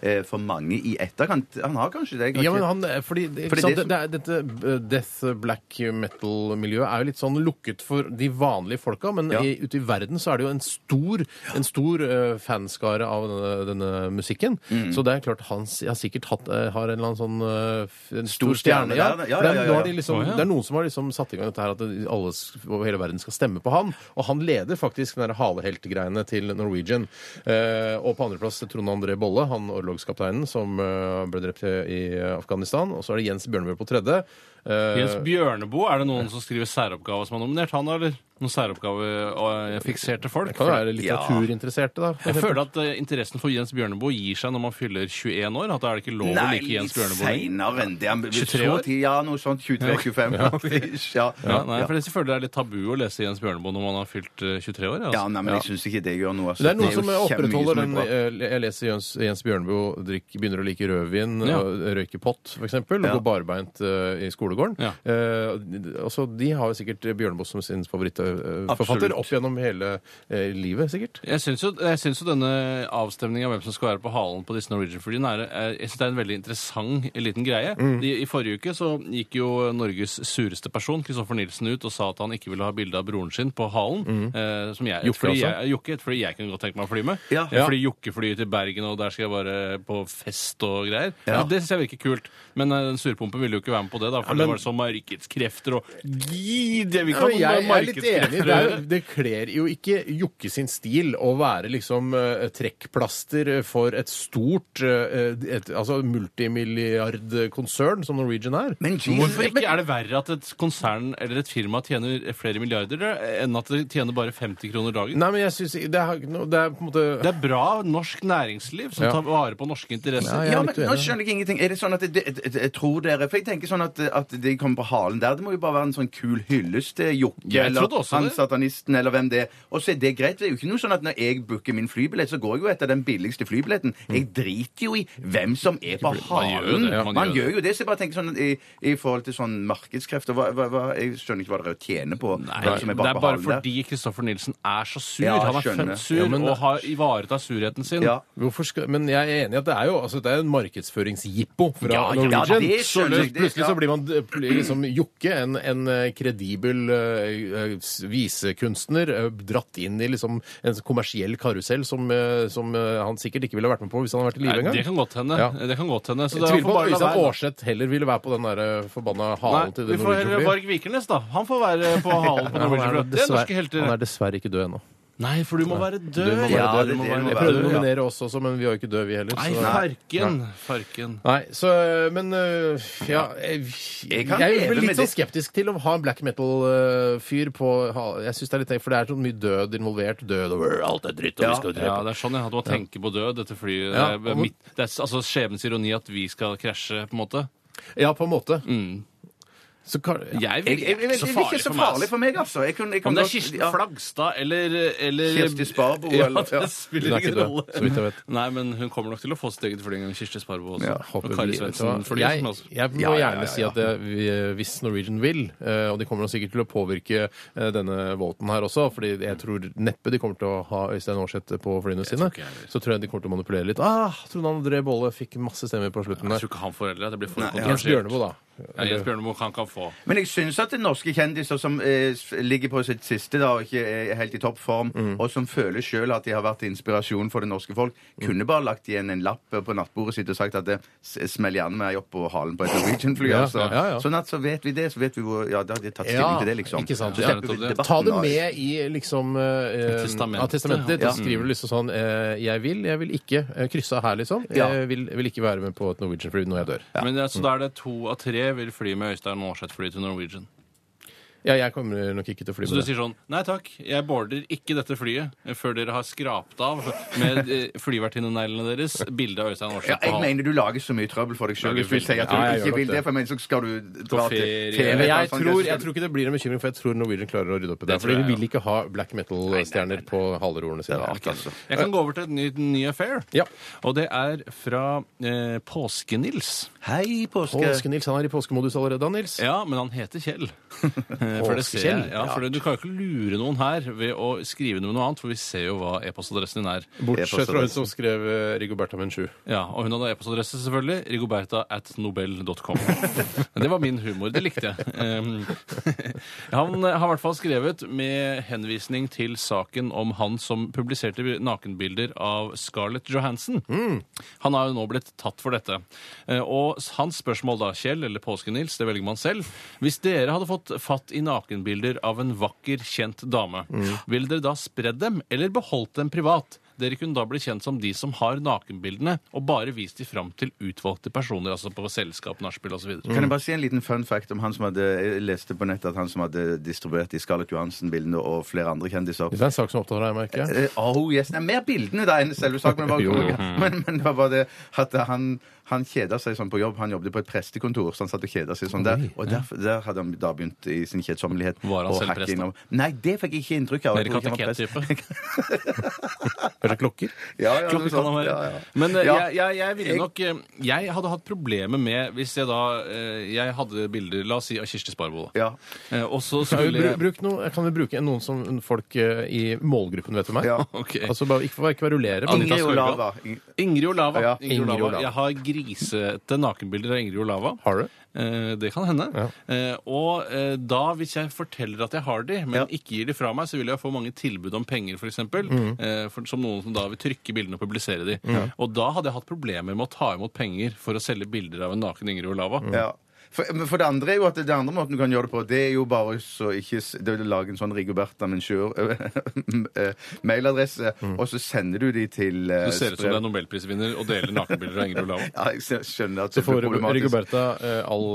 eh, for mange i etterkant? Han har kanskje det? Kanskje. Ja, men han, eh, fordi, ikke Fordi sant, det som- det er, Dette eh, death black metal-miljøet er jo litt sånn lukket for de vanlige folka, men Ja. i, ute i verden så er det jo en stor, en stor eh, fanskare av denne, denne musikken. Mm. Så det er klart han s- har sikkert hatt, eh, har en eller annen sånn eh, f- en Stor stor, stjerne. stjerne Ja. der, ja, For det er- ja, ja, nå har ja. de Liksom, Å, ja. Det er noen som har liksom satt i gang dette her at det- alle s- over hele verden skal stemme på han, og han leder faktisk den der haleheltgreiene til Norwegian. Eh, og på andreplass Trond André Bolle, han orlogskapteinen som eh, ble drept i eh, Afghanistan. Og så er det Jens Bjørnebø på tredje. Eh, Jens Bjørneboe, er det noen som skriver særoppgave som har nominert han, eller? Noen særoppgavefikserte folk? kan jo være litteraturinteresserte, da. Jeg føler at eh, interessen for Jens Bjørneboe gir seg når man fyller 21 år. At da er det ikke lov å Nei, like Jens Bjørneboe lenger. seinere enn det. Han, 23 så år? Tid, ja, noe sånt. 23-25. Ja. Ja. Ja, nei, ja. for jeg føler det er litt tabu å lese Jens Bjørneboe når man har fylt eh, 23 år. Ja, Altså. nei, men jeg syns ikke det gjør noe. altså. Det er noen jo som kjempemye opprettholder som er den bra. eh, Jeg leser Jens, Jens Bjørneboe drikk, begynner å like rødvin, Ja. og røyke pott f.eks., og Ja. gå barbeint eh, i skolegården. Ja. Eh, og så De har jo sikkert Bjørneboe som sin favorittforfatter Absolutt. opp gjennom hele eh, livet, sikkert. Jeg syns jo, jeg syns jo denne avstemningen av hvem som skal være på halen på disse Norwegian-flyene, er, er, jeg synes det er en veldig interessant liten greie. Mm. I, I forrige uke så gikk jo Norges sureste person, Kristoffer Nilsen, ut og sa at han ikke ville ha bilde av broren sin på halen. Eh, som jeg, Mm. Jokke fordi også? jeg, Jokke, et fly jeg kunne godt tenke meg å fly med. Ja. Jeg flyr Jokke-fly til Bergen, og der skal jeg bare på fest og greier. Ja. Og det syns jeg virker kult. Men eh, den surpumpen ville jo ikke være med på det, da, Ja, for men- det var sånn markedskrefter og Gid! Jeg vil Ja, ikke men jeg ha noe er litt enig. markedskrefter Det, å er, gjøre. det kler jo ikke Jokke sin stil å være liksom eh, trekkplaster for et stort eh, et, altså multimilliardkonsern som Norwegian er. Men Hvorfor Jesus, ikke er det verre at et konsern eller et firma tjener flere milliarder da, enn at det tjener bare 50 kroner dagen? Nei, men jeg syns det, har ikke noe- det er på en måte Det er bra norsk næringsliv som Ja. tar vare på norske interesser. Ja, Ja, er men litt nå uenig. skjønner jeg ingenting. Er det sånn at det, det, det, jeg tror dere For jeg tenker sånn at, at de kommer på halen der. Det må jo bare være en sånn kul hyllest til Jokke Jeg eller trodde også han det. satanisten eller hvem det er. Og så er det greit. Det er jo ikke noe sånn at når jeg booker min flybillett, så går jeg jo etter den billigste flybilletten. Jeg driter jo i hvem som er på Man gjør jo halen. det, man Man gjør gjør jo det. Så jeg bare tenker sånn i, i forhold til sånn markedskrefter hva, hva, hva, Jeg skjønner ikke hva dere tjener på. Nei, hvem som det bak er på bare halen der. fordi Kristoffer Nilsen er så sur. Ja, han er skjønner. født sur Ja, men- og har ivaretatt surheten sin. Ja. Hvorfor skal, men jeg er enig i at det er jo altså det er en markedsføringsjippo fra Ja, ja, Norwegian. det skjønner så jeg, det- plutselig så ja. blir man eh, liksom jokke, en, en eh, kredibel eh, eh, s- slags visekunstner eh, dratt inn i liksom en kommersiell karusell som, eh, som eh, han sikkert ikke ville vært med på hvis han hadde vært i live Nei, det engang. kan godt hende. Ja. Det kan godt hende. Så Jeg det- tviler får på bare at la Øystein være. Aarseth heller ville være på den der eh, forbanna halen Nei, til vi det får heller Norwegian Blue. Varg Vikernes, da. Han får være på halen på Nei, han Norwegian er Blue. Det er norske dessverre- han helter. er dessverre ikke død ennå. Nei, for du må være Du må død. være Ja, død. du må Det- være det Jeg død. må være prøvde å død, ja. nominere oss også, men vi var jo ikke døde, vi heller. Nei, så- farken. Farken. Nei, så øh, Men øh, ja Jeg, jeg, kan leve blir med litt så det. skeptisk til å ha en black metal-fyr på ha- Jeg synes det er litt For det er så mye død involvert. Død og alt er dritt, og vi skal Ja, drepe det er sånn jeg hadde å tenke på død, dette flyet. Ja, Det er og- mitt- Det er altså skjebnens ironi at vi skal krasje, på en måte. Ja, på en måte. Mm. Så kan ja. Jeg Jeg, vil jeg, jeg, ikke jeg, så det er ikke farlig så for meg. farlig ass. for meg, altså. Jeg kunne, jeg Om kunne det er godt- Kirsten ja. Flagstad eller, eller Kirsti Sparbo, Ja, eller- ja. det Hun spiller er ikke ingen død, rolle. så vidt jeg vet. Nei, men hun kommer nok til å få sitt eget fly en gang, Kirsti Sparbo også. Ja, og håper vi- Kari vet du Svendsen. hva? for de Jeg, som også- jeg må Ja, ja, ja, gjerne si ja. at det, vi- øh, hvis Norwegian vil, eh, og de kommer nok sikkert til å påvirke eh, denne voten her også, fordi jeg tror neppe de kommer til å ha Øystein Aarseth på flyene sine, ikke jeg heller. så tror jeg de kommer til å manipulere litt. Ah, Trond André Bolle fikk masse stemmer på slutten Jeg der. tror ikke han får heller at det blir for Jens kontroversielt. Bjørneboe, da. Ja, Jens Bjørneboe han kan få. Men jeg syns at det er norske kjendiser som eh, s- ligger på sitt siste da, og ikke er helt i toppform, Mm. og som føler sjøl at de har vært inspirasjon for det norske folk, Mm. kunne bare lagt igjen en lapp på nattbordet sitt og sagt at det s- smell gjerne meg opp på halen på et Norwegian-fly. Ja, altså. ja, ja, ja. Sånn at så vet vi det, så vet vi hvor Ja, da har de tatt stilling til det, liksom. Ikke sant? Så Ja, slipper nettopp vi det. debatten Ta det av. med i liksom eh, Testamentet, ja, testamentet ditt. ja. og Så skriver du liksom sånn eh, Jeg vil, jeg vil ikke eh, krysse av her, liksom. Ja. Jeg vil, vil ikke være med på et Norwegian-fly når jeg dør. Men det, er- så da er det to av tre vil fly med Øystein Aarseth-fly til Norwegian. Ja, jeg kommer nok ikke til å fly Så med du det. sier sånn Nei takk, jeg border ikke dette flyet før dere har skrapt av med eh, flyvertinneneglene deres bilde av Øystein Ja, Aarseth. jeg på halen. mener du lager så mye trøbbel for deg sjøl Lager hvis du sier at du Ja, jeg gjør ikke vil nok det, det. for men så skal du dra til ferie. TV, Men jeg ta en sånn tror, greie, jeg så tror ikke det blir noe bekymring, for jeg tror Norwegian klarer å rydde opp i det. Det For tror de jeg, vil ikke ha black metal-stjerner på halerorene sine. skal du- altså. Jeg kan gå over til et nytt ny affair. Ja. Og det er fra eh, Påske-Nils. Hei, påske. Påske-Nils, han er i påskemodus allerede, da, Nils. Ja, men han heter Kjell. Eh, for det ser jeg. Påske-Kjell? Ja, for det, du kan jo ikke lure noen her ved å skrive noe med noe annet, for vi ser jo hva e-postadressen din er. Bortsett fra hun som skrev eh, Rigoberta Menchu. Ja, Og hun hadde e-postadresse, selvfølgelig. Rigoberta at nobel.com. Det var min humor. Det likte jeg. Um, Han har i hvert fall skrevet med henvisning til saken om han som publiserte nakenbilder av Scarlett Johansen. Han har jo nå blitt tatt for dette. Eh, Og hans spørsmål da, Kjell eller Påske-Nils, det velger man selv. Hvis dere hadde fått fatt i nakenbilder av en vakker, kjent dame, ville dere da spredd dem eller beholdt dem privat? Dere kunne da bli kjent som de som har nakenbildene, og bare vist de fram til utvalgte personer, altså på selskap, nachspiel osv. Kan jeg bare si en liten fun fact om han som hadde jeg leste på nettet at han som hadde distribuert de Scarlett Johansen-bildene og flere andre kjendiser? Det er en sak som opptar deg, merker jeg. Eh, Oh yes, Nei, Mer bildene da enn selve saken. Men, Jo, jo. bare, men, men det var bare det at han, han kjeda seg sånn på jobb. Han jobbet på et prestekontor, så han satt og kjeda seg sånn der. Og der, der hadde han da begynt i sin kjedsommelighet. Var han å selv hacke prest, da? innom- Nei, det fikk jeg ikke inntrykk av. Mer Jeg tror ikke han var prest. kateket-type. Kanskje klokker? Ja, ja, noe Klokker kan han sånt. være. Ja, ja. Men eh, Ja. jeg, jeg, jeg ville nok eh, Jeg hadde hatt problemer med Hvis jeg da eh, Jeg hadde bilder, la oss si, av Kirsti Sparbo, da. Ja. Eh, Og så Kan vi, skulle bru- jeg bruk noe, kan vi bruke noen som folk eh, i målgruppen vet om her? Ja. Ok. Altså bare, ikke, bare ikke varulere, men Anita Ingrid Skorgan. Olava. Ing- Ingrid Olava. Ja, Ingrid Ingrid Olava. Olava. Jeg har grisete nakenbilder av Ingrid Olava. Har du? Eh, Det kan hende. Eh, Og eh, da, hvis jeg forteller at jeg har de, men Ja. ikke gir de fra meg, så vil jeg få mange tilbud om penger, f.eks. Som noen som da vil trykke bildene og publisere de. Og da hadde jeg hatt problemer med å ta imot penger for å selge bilder av en naken Ingrid Olava. Mm. Ja. For, men for det andre er jo at det andre måten du kan gjøre det på, det er jo bare så ikke s- det er å lage en sånn Rigoberta Menchur-mailadresse, Mm. og så sender du de til eh, Du ser ut som brev- du er nobelprisvinner og deler nakenbilder av Ingrid Olava. Ja, jeg skjø- skjønner at så det får blir problematisk. Rigoberta eh, all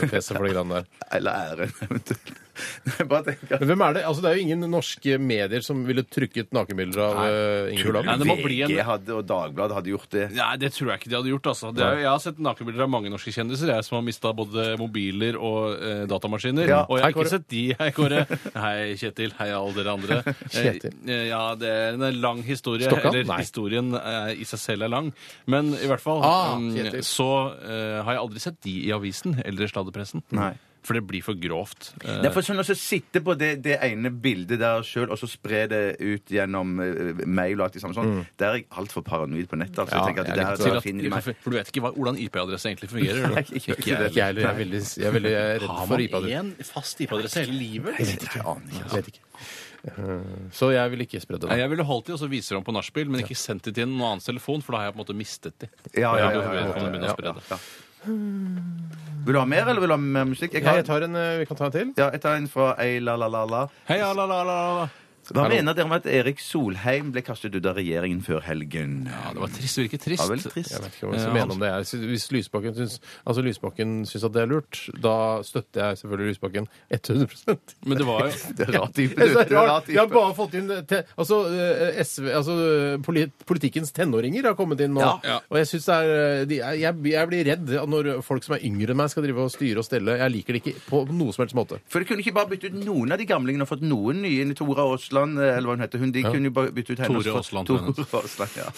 eh, fjeset for de greiene der. Eller æren, eventuelt. Jeg Bare tenker at Men hvem er det? Altså, det er jo ingen norske medier som ville trykket nakenbilder av eh, Ingrid Nei, Olav. det må bli en VG hadde, og Dagbladet hadde gjort det. Nei, det tror jeg ikke de hadde gjort. altså. Det er, jo- jeg har sett nakenbilder av mange norske kjendiser jeg som har mista både mobiler og eh, datamaskiner. Ja. Og jeg har Hei, Kåre. ikke sett de, hei, Kåre. Hei, Kjetil. Hei, alle dere andre. Eh, Kjetil. eh, ja, det er en lang historie. Stokkan? Eller Nei. historien eh, i seg selv er lang. Men i hvert fall Ah, eh, Kjetil. så eh, har jeg aldri sett de i avisen eller i sladderpressen. Nei. For det blir for grovt. Eh, Derfor sånn å så sitte på det, det ene bildet der sjøl, og så spre det ut gjennom eh, mail og alt det samme Mm. sånn, der er jeg altfor paranoid på nettet. Ja, Altså. jeg tenker at jeg det er her litt til tror jeg at, finner de meg. for du vet ikke hva, hvordan IP-adresse egentlig fungerer. Nei, Eller? ikke, Ikke jeg heller. Jeg er veldig, jeg er veldig redd Har for man IP-adresse. én fast IP-adresse hele livet? Jeg vet ikke. Jeg vet ikke. Eh, Så jeg vil ikke spre det. da. Nei, jeg ville holdt de, og så viser de på nachspiel, men ikke sendt de til noen annens telefon, for da har jeg på en måte mistet de. Da Ja, ja, ja, ja, kan ja, jeg begynne å ja, spre det. ja. Vil du ha mer, eller vil du ha mer musikk? Ja, jeg tar en, eh, vi kan ta en til. ja, jeg tar en fra Ei la la la la. Hei, ja, la, la, la, la. Hva mener dere om at Erik Solheim ble kastet ut av regjeringen før helgen? Ja, det var trist. Det virker trist. Ja, veldig trist. Jeg vet ikke hva jeg Ja, skal mene om det er. Så Hvis Lysbakken syns, altså Lysbakken syns at det er lurt, da støtter jeg selvfølgelig Lysbakken 100 Men det var jo Det er rar Jeg type, du. synes Det det er er rar rart. Vi har type. bare fått inn te, altså, eh, SV, altså, polit, Politikkens tenåringer har kommet inn nå. Ja. Og jeg, synes det er, eh, de, er- jeg, jeg blir redd når folk som er yngre enn meg, skal drive og styre og stelle. Jeg liker det ikke på noe som helst måte. For de kunne ikke bare bytte ut noen av de gamlingene og fått noen nye inn i Tora Aasland, eh, eller hva hun heter. Hun, de kunne jo bare bytte ut henne. og Tore så- Aasland, tror jeg Tore Aasland, ja.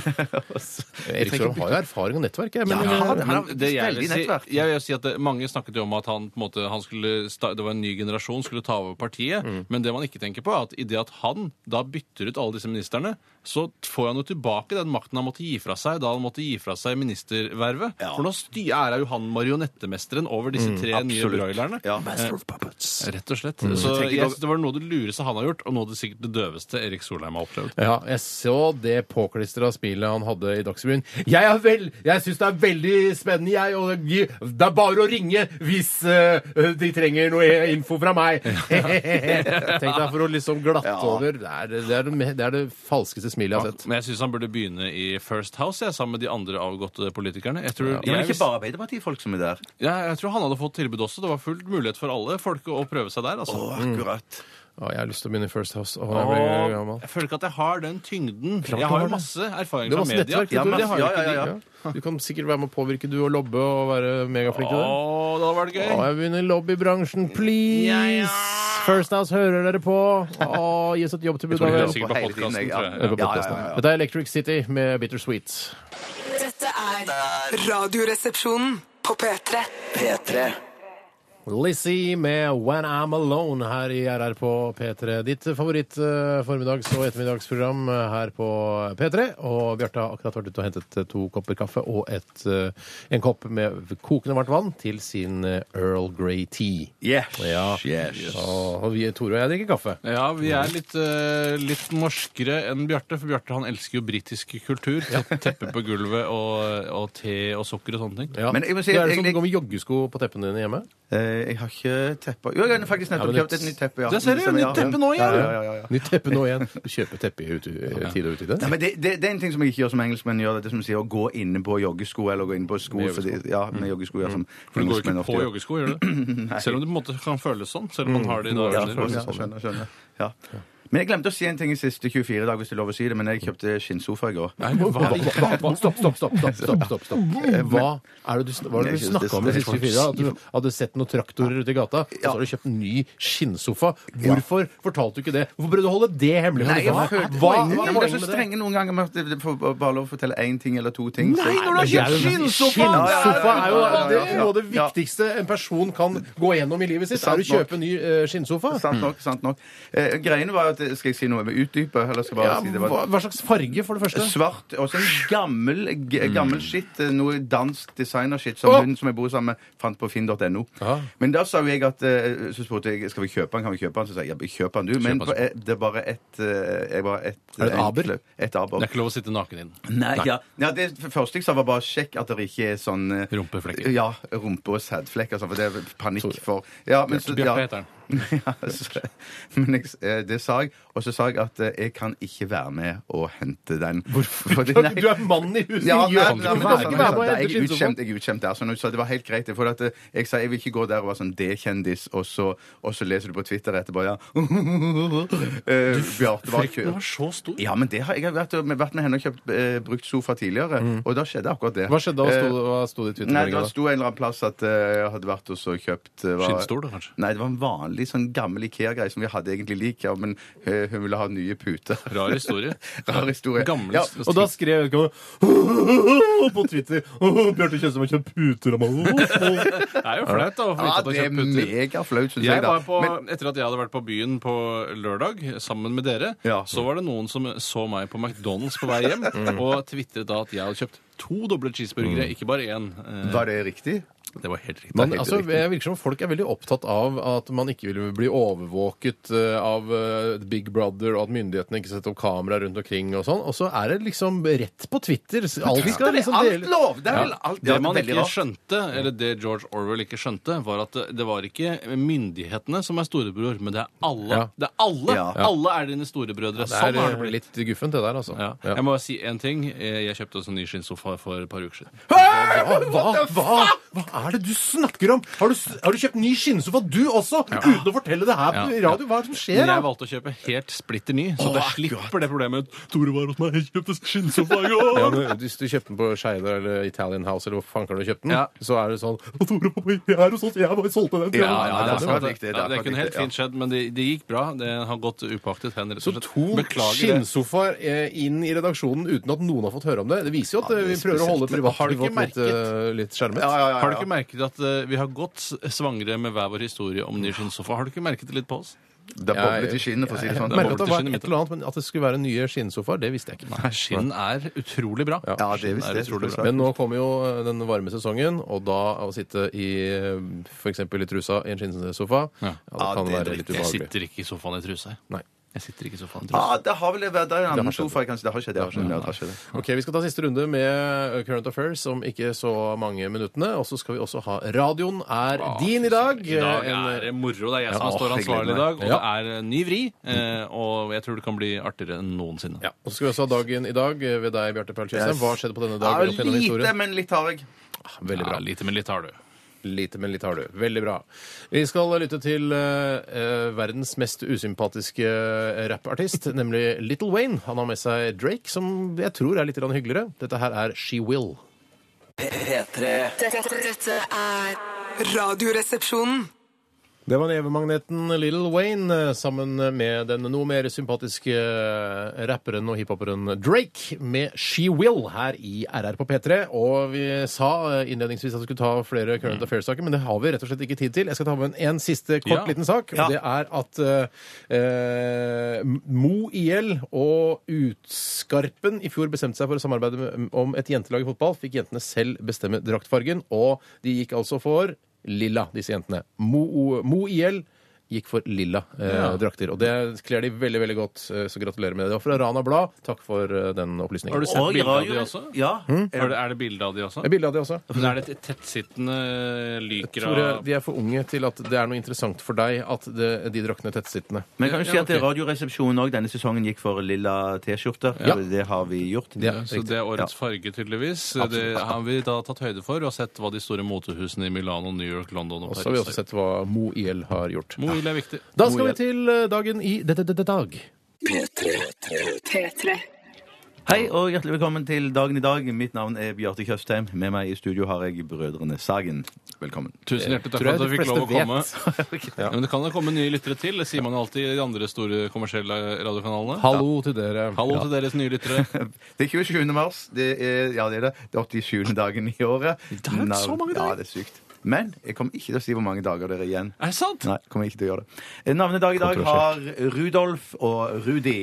Erik Solheim har jo erfaring og nettverk. Jeg, men, Ja, eh, det men det jeg vil veldig si, nettverk. jeg vil si at det, Mange snakket jo om at han, på en måte, han skulle sta, det var en ny generasjon skulle ta over partiet. Mm. Men det man ikke tenker på, er at i det at han da bytter ut alle disse ministerne, så får han jo tilbake den makten han måtte gi fra seg da han måtte gi fra seg ministervervet. For nå sty- er jo han marionettemesteren over disse tre nye Mm, absolutt. broilerne. Eh, Ja. Rett og slett. Så jeg tenker Mm. jeg- synes det var noe av det lureste han har gjort, og noe av det sikkert det døveste Erik Solheim har opplevd. Ja, jeg så det påklistra smilet han hadde i Dagsrevyen. Jeg er vel, jeg syns det er veldig spennende, jeg, og vi- det er bare å ringe hvis eh, de trenger noe info fra meg. Tenk deg for å liksom glatte over. Det er det, er det, me- det, er det falskeste smilet jeg har sett. Men jeg syns han burde begynne i First House jeg, sammen med de andre avgåtte politikerne. Jeg tror, Ja, men jeg, ikke bare Arbeiderpartifolk som er der. ja, jeg tror han hadde fått tilbud også. Det var full mulighet for alle folk å prøve seg der. Å, altså. akkurat. Å, jeg har lyst til å begynne i First House. Å, jeg blir Og gammel. jeg føler ikke at jeg har den tyngden. Klart Jeg du har har jo det. masse erfaring Det er fra masse media. nettverk. vet du, Ja, det har ja, ikke ja, de. ja, ja. Ja. Du kan sikkert være med å påvirke, du, og lobbe og være megaflink til Å, det. da var det Å, gøy! jeg begynner i lobbybransjen, please! Ja, ja. First House, hører dere på? Å, gi oss et jobbtilbud, da Jeg hører vel. sikkert på hele tiden, podcasten, jeg, ja. tror jeg. Hør på podcasten. Dette er Electric City med Bittersweet. Dette er Radioresepsjonen på P3. P3 Lizzie med When I'm Alone her i RR på P3. Ditt favoritt eh, formiddags- og ettermiddagsprogram eh, her på P3. Og Bjarte har akkurat vært ute og hentet eh, to kopper kaffe og et, eh, en kopp med kokende varmt vann til sin eh, Earl Grey Tea. Yes. Ja. yes. Og vi, Tore og jeg drikker kaffe. Ja, vi er litt, eh, litt norskere enn Bjarte, for Bjarte han elsker jo britisk kultur. Te teppe på gulvet og, og te og sukker og sånne ting. Ja. Men jeg må si Så at er det sånn egentlig- du går med joggesko på teppene dine hjemme? Eh, jeg har ikke teppe Jo, jeg har faktisk nettopp Ja, men kjøpt et nytt teppe. Ja. Det ser du, Stemmer, ja. nytt teppe nå, ja. Ja, ja, ja, ja. Nytt teppe nå igjen. Du kjøper teppe i uti- i tide og utide? Nei, men det, det, det er en ting som jeg ikke gjør som engelskmenn gjør. Det er det som de sier å gå inne på joggesko eller gå inne på sko. Med Fordi, ja, med joggesko, ja, som For du går jo engelskmenn ikke på ofte gjør. joggesko, gjør du? det? Selv om det på en måte kan føles sånn. Selv Mm. om man har det i Ja, dag. sånn. skjønner, skjønner, skjønner. Ja. Men jeg glemte å si en ting i siste 24 dager, hvis det er lov å si det, men jeg kjøpte skinnsofa i går. Nei, men hva? Stopp, stopp, stopp. stopp, stopp, stopp, stopp, stopp. Hva er det du, sn- hva er det du snakka om de siste fire At du hadde sett noen traktorer ute i gata, og så har du kjøpt en ny skinnsofa. Hvorfor fortalte du ikke det? Hvorfor prøvde du å holde det hemmelig? Nei, for jeg lytterne? følte hva poenget. hva Nei, er men det er poenget så med det? strenge noen ganger med at det får bare lov å fortelle én ting eller to ting. Nei, når du Det har er kjøpt jo- skinnsofa! Skinnsofa er jo det er noe av det Ja. viktigste en person kan gå gjennom i livet sitt. Sant Er å nok. kjøpe ny eh, skinnsofa. Sant nok. sant nok. Eh, greiene var at Skal jeg si noe med utdype, eller skal jeg bare Ja, si det hva, var hva slags farge, for det første? Svart. Også en gammel, g Mm. gammel shit. eh, Noe dansk designershit som Å! hun som jeg bor sammen med, fant på finn.no. Ja. Men da sa jo jeg at eh, Så spurte jeg skal vi kjøpe den, kan vi kjøpe den? Så sa jeg ja, kjøp den, du. Men Kjøp på, den. eh, det er bare ett Er det et aber? Et aber. Det er ikke lov å sitte naken inn. Nei, ja. ja det første jeg sa, var bare sjekk at det ikke er sånn eh, Rumpeflekker. Ja, rumpe- og sædflekker. sånn, For det er panikk for ja, men, så, Bjarte ja. heter han. ja, så, men jeg, eh, det sa jeg. Og så sa jeg at eh, jeg kan ikke være med og hente den. Hvorfor? Fordi, nei, Du er mann i huset! ja, gjør- nei, du nei, kan men da sa ikke jeg være med sånn, og nei, hente jeg er skinnsofa. utkjemt, jeg er utkjemt der. Så når du sa det var helt greit. For at eh, jeg sa jeg vil ikke gå der og være sånn D-kjendis, og, så, og så leser du på Twitter etterpå, ja. Eh, Bjarte var Frykten var så stor. ja, men det har jeg har vært, vært med henne og kjøpt eh, brukt sofa tidligere, og da skjedde akkurat det. Hva skjedde da? Eh, Sto- Hva sto det i Nei, det Twitter-meldinga? sto en eller annen plass at eh, jeg hadde vært og så kjøpt eh, hva- Skinnstol, da, kanskje? Nei, det var en veldig sånn gammel Ikea-greie som vi hadde egentlig lik, ja, men eh, hun ville ha nye puter. Rar historie. Rar historie. Gamle Ja, s- Og da skrev vedkommende på Twitter Bjarte Tjøstheim har kjøpt puter av meg. Det er jo flaut, da. å få ja, vite at du har det er kjøpt puter. megaflaut, syns jeg. Jeg da. var på, Men- Etter at jeg hadde vært på byen på lørdag sammen med dere, Ja. Mm. så var det noen som så meg på McDonald's på vei hjem, og tvitret da at jeg hadde kjøpt to doble cheeseburgere, ikke bare én. Eh, var det riktig? Det var helt riktig. Men altså, jeg virker som folk er veldig opptatt av at man ikke vil bli overvåket eh, av eh, Big Brother, og at myndighetene ikke setter opp kamera rundt omkring og sånn. Og så er det liksom rett på Twitter. Alt Det skal er liksom alt dele lov! Det er vel alt Det ja, man det er veldig ikke rart. skjønte, eller det George Orwell ikke skjønte, var at det- det var ikke myndighetene som er storebror, men det er alle. Ja. Det er alle! Ja. Alle er dine storebrødre. Det Sånn er har eh, det blitt. litt guffent, det der, altså. Ja. Jeg må bare si én ting. Eh, Jeg kjøpte også en ny skinnsofa for et par uker siden. Hva, hva, hva, hva er det du snakker om? Har du, s- har du kjøpt ny skinnsofa, du også? Uten å fortelle det her på Ja. radio? Hva er det som Men skjer? jeg da? valgte å kjøpe helt splitter ny, så da slipper det problemet. Tore var hos meg, jeg kjøpte skinnsofa i går! Ja, men Hvis du kjøpte den på Skeide eller Italian House, eller hvor fanker du kjøpte den, Ja. så er det sånn «Å, Tore, Jeg er hos oss, jeg bare solgte den. til Ja, deg». ja, det er det, akkurat riktig, det er ja, det akkurat kunne helt riktig, ja. fint skjedd, men det, det gikk bra. Det har gått upåaktet hen. rett og Så slett. to Beklager det. skinnsofaer eh, inn i redaksjonen uten at noen har fått høre om det. Det viser jo at eh, vi prøver å holde spesielt. Har du ikke privatlivet litt, eh, litt skjermet. Ja, ja, ja, ja. Har du ikke merket at eh, vi har gått s- svangre med hver vår historie om ny skinnsofa? Har du ikke merket det litt på oss? Det er boblet i skinnet, for å si det sånn. Jeg merket at det var Skinnet mitt. et eller annet, men at det skulle være nye skinnsofaer, det visste jeg ikke. Skinn er utrolig bra. Ja, det er visst Skinn det. utrolig bra. Men nå kommer jo eh, den varme sesongen, og da å sitte i f.eks. i trusa i en skinnsofa, ja. det Ja, kan det er være litt Jeg ubehagelig. sitter ikke i sofaen i truse. jeg. Nei. Jeg sitter ikke i sofaen i truse. Ja, det har vel vært der i en har annen skjedd. sofa, kanskje. Det har skjedd, det har skjedd. Ja, det har skjedd. Ok, Vi skal ta siste runde med eh, Current Affairs om ikke så mange minuttene. Og så skal vi også ha Radioen er din i dag. I dag eh, En- er det moro. Det er jeg som Ja, står jeg gleder ansvarlig i meg. dag. Og Ja. det er en ny vri. eh, Og jeg tror det kan bli artigere enn noensinne. Ja, og så skal vi også ha dagen i dag eh, ved deg, Bjarte Paul Tjøstheim. Yes. Hva skjedde på denne Ja, dagen? opp gjennom lite, historien? men litt har jeg. Veldig bra. Ja, lite, men litt har du. Lite, men litt har du. Veldig bra. Vi skal lytte til eh, eh, verdens mest usympatiske eh, rappartist, nemlig Little Wayne. Han har med seg Drake, som jeg tror er litt grann hyggeligere. Dette her er She Will. P3 Dette, dette er Radioresepsjonen. Det var nevemagneten Little Wayne eh, sammen med den noe mer sympatiske eh, rapperen og hiphoperen Drake med She Will her i RR på P3. Og vi sa eh, innledningsvis at vi skulle ta flere Current Affairs-saker, men det har vi rett og slett ikke tid til. Jeg skal ta med en, en siste kort Ja. liten sak, og Ja. det er at eh, eh, Mo IL og Utskarpen i fjor bestemte seg for å samarbeide med, om et jentelag i fotball. Fikk jentene selv bestemme draktfargen, og de gikk altså for lilla, disse jentene. Mo, Mo IL gikk for lilla eh, drakter. Og det kler de veldig veldig godt, eh, så gratulerer med det. Det var fra Rana Blad. Takk for eh, den opplysningen. Har du sett Og bilde av de radio- også? Ja. Er det, er det bilde av de også? Det er bilde av de også. Men er det et tettsittende lyker Tore, av de er for unge til at det er noe interessant for deg at det, de drakten er tettsittende. Men kan du si Ja, at det ok. Radioresepsjonen òg denne sesongen gikk for lilla T-skjorter? Ja. Det har vi gjort. Det er Så det er årets farge, tydeligvis. Det har vi da tatt høyde for, og sett hva de store motehusene i Milano, New York, London og Og Paris så har vi også sett hva Mo IL har gjort. Moil er viktig. Da skal vi til eh, dagen i d-d-d-dag. P3. Hei og hjertelig velkommen til dagen i dag. Mitt navn er Bjarte Tjøstheim. Med meg i studio har jeg brødrene Sagen. Velkommen. Tusen hjertelig takk tror for jeg at du de fikk lov å fleste komme. ja. Men det kan jo komme nye lyttere til, det sier man alltid i de andre store kommersielle radiokanalene. Hallo til dere. Ja. Hallo til deres nye lyttere. Det er 27. mars. Det er, ja, det er det. Det er 87. dagen i året. Det er så mange dager. Ja, det er sykt. Men jeg kommer ikke til å si hvor mange dager det er igjen. Er det sant? Nei, kommer ikke til å gjøre det. Eh, Navnedag i dag har Rudolf og Rudi.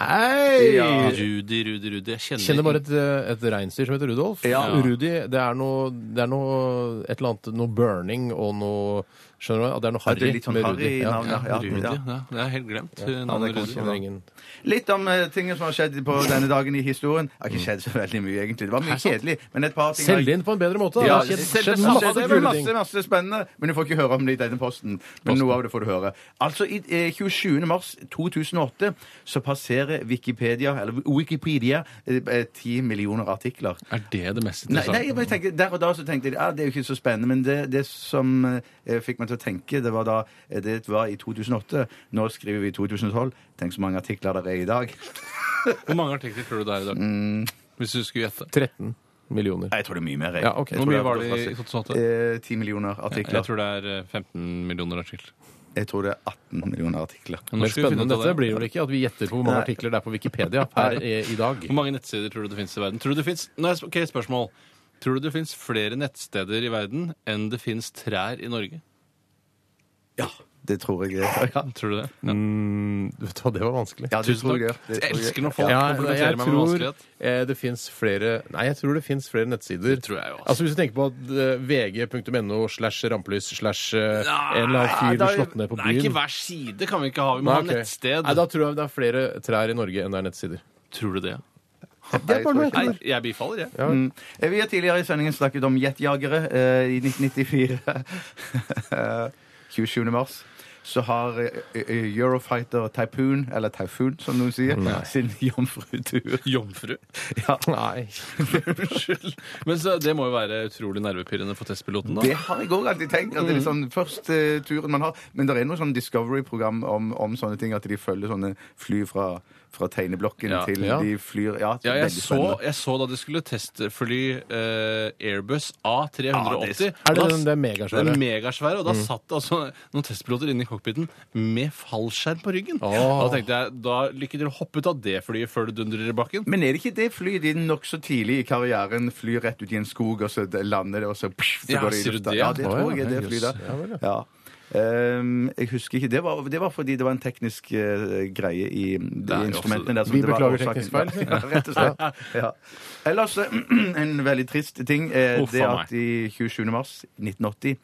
Hei! Ja. Rudi, Rudi, Rudi. Jeg kjenner, Jeg kjenner bare et, eh, et reinsdyr som heter Rudolf. Ja. Rudi, det er noe, det er noe et eller annet, noe burning og noe Skjønner du? hva? Det er noe Ja, det harry er litt sånn med harry Rudi. i Ja. navnet. ja, Rudi. Ja. Ja, det er helt glemt. det navnet kan Rudi. skje. Det er ingen- Litt om eh, tingene som har skjedd på denne dagen i historien. Det har ikke skjedd så veldig mye, egentlig. Det var mye kjedelig, men et par ting har- Selg det inn på en bedre måte. Ja, det har skjedd, selv- skjedd selv- masse det er kule masse, ting. masse spennende, men du får ikke høre om det i denne posten. Men noe av det får du høre. Altså, i eh, 27. mars 2008 så passerer Wikipedia, eller Wikipedia eh, eh, 10 millioner artikler. Er det det mest Nei, interessante? nei, men jeg tenker, Der og da så tenkte jeg ja, det er jo ikke så spennende, men det, det som eh, fikk meg til å tenke, det var da eh, det var i 2008. Nå skriver vi 2012. Tenk så mange artikler det er i dag. Hvor mange artikler tror du det er i dag? Hvis du skulle gjette. 13. millioner. Nei, jeg tror det er mye mer. jeg. Ja, ok. Jeg Hvor tror mye er var det i akkurat 2008? Eh, 10 millioner artikler. Jeg tror det er eh, 15 millioner artikler. Jeg tror det er 18 millioner artikler. Mm. Mer spennende enn dette blir det vel ikke at vi gjetter på hvor mange Nei. artikler det er på Wikipedia per i, i dag. Hvor mange nettsider tror du det finnes i verden? Tror du det finnes... Nå er sp- ok, spørsmål. Tror du det finnes flere nettsteder i verden enn det finnes trær i Norge? Ja, det tror jeg. Ja, ja. Tror du det? Ja. Mm, vet du hva, det var vanskelig. Ja, det Tusen tror jeg. takk. Det Jeg tror jeg. elsker når folk Ja, komplementerer jeg meg med tror vanskelighet. eh, det fins flere Nei, jeg tror det fins flere nettsider. Det tror jeg jo, altså. Altså Hvis du tenker på at eh, vg.no slash rampelys slash eh, Nei, en eller annen fyr da- blir slått ned på Nei, ikke byen hver side kan vi ikke ha. Vi må Nei, ha ok. nettsted. Nei, Da tror jeg det er flere trær i Norge enn det er nettsider. Tror du det? Nei, jeg tror ikke. Nei, jeg bifaller, jeg. Mm. Eh, Vi har tidligere i sendingen snakket om jetjagere eh, i 1994. 27. mars. Så har eh, eh, Eurofighter Typhoon, eller Typhoon som noen sier, sin jomfrutur. Jomfru. Ja. Nei. Unnskyld. Men så, det må jo være utrolig nervepirrende for testpiloten, Det da. har jeg òg alltid tenkt. At det er Mm. liksom først eh, turen man har. Men det er noe sånn Discovery-program om, om sånne ting, at de følger sånne fly fra, fra tegneblokken Ja. til Ja. de flyr Ja, Ja, jeg veldig så, spennende. jeg så da de skulle testfly eh, Airbus A380. Ja, det- Er det Og da- den- det er megasvære? Mm. Det er megasvære, og da satt det altså noen testpiloter inne i cockpiten med fallskjerm på ryggen. Åh. Da tenkte jeg, da lykke til å hoppe ut av det flyet før du dundrer i bakken. Men er det ikke det flyet de nokså tidlig i karrieren flyr rett ut i en skog, og så lander det, og så, pff, så Ja, går det sier i du lufta? det? Ja, det tror Å, ja, jeg er det jøss. flyet der. Ja vel, ja. Ja. Ehm, jeg husker ikke. Det var, det var fordi det var en teknisk eh, greie i er jo de også- instrumentene der. som Vi det var beklager årsaken- teknisk feil. Ja, rett og slett. Ja. Ellers eh, en veldig trist ting. eh, Uff, det faen at i 27. mars 1980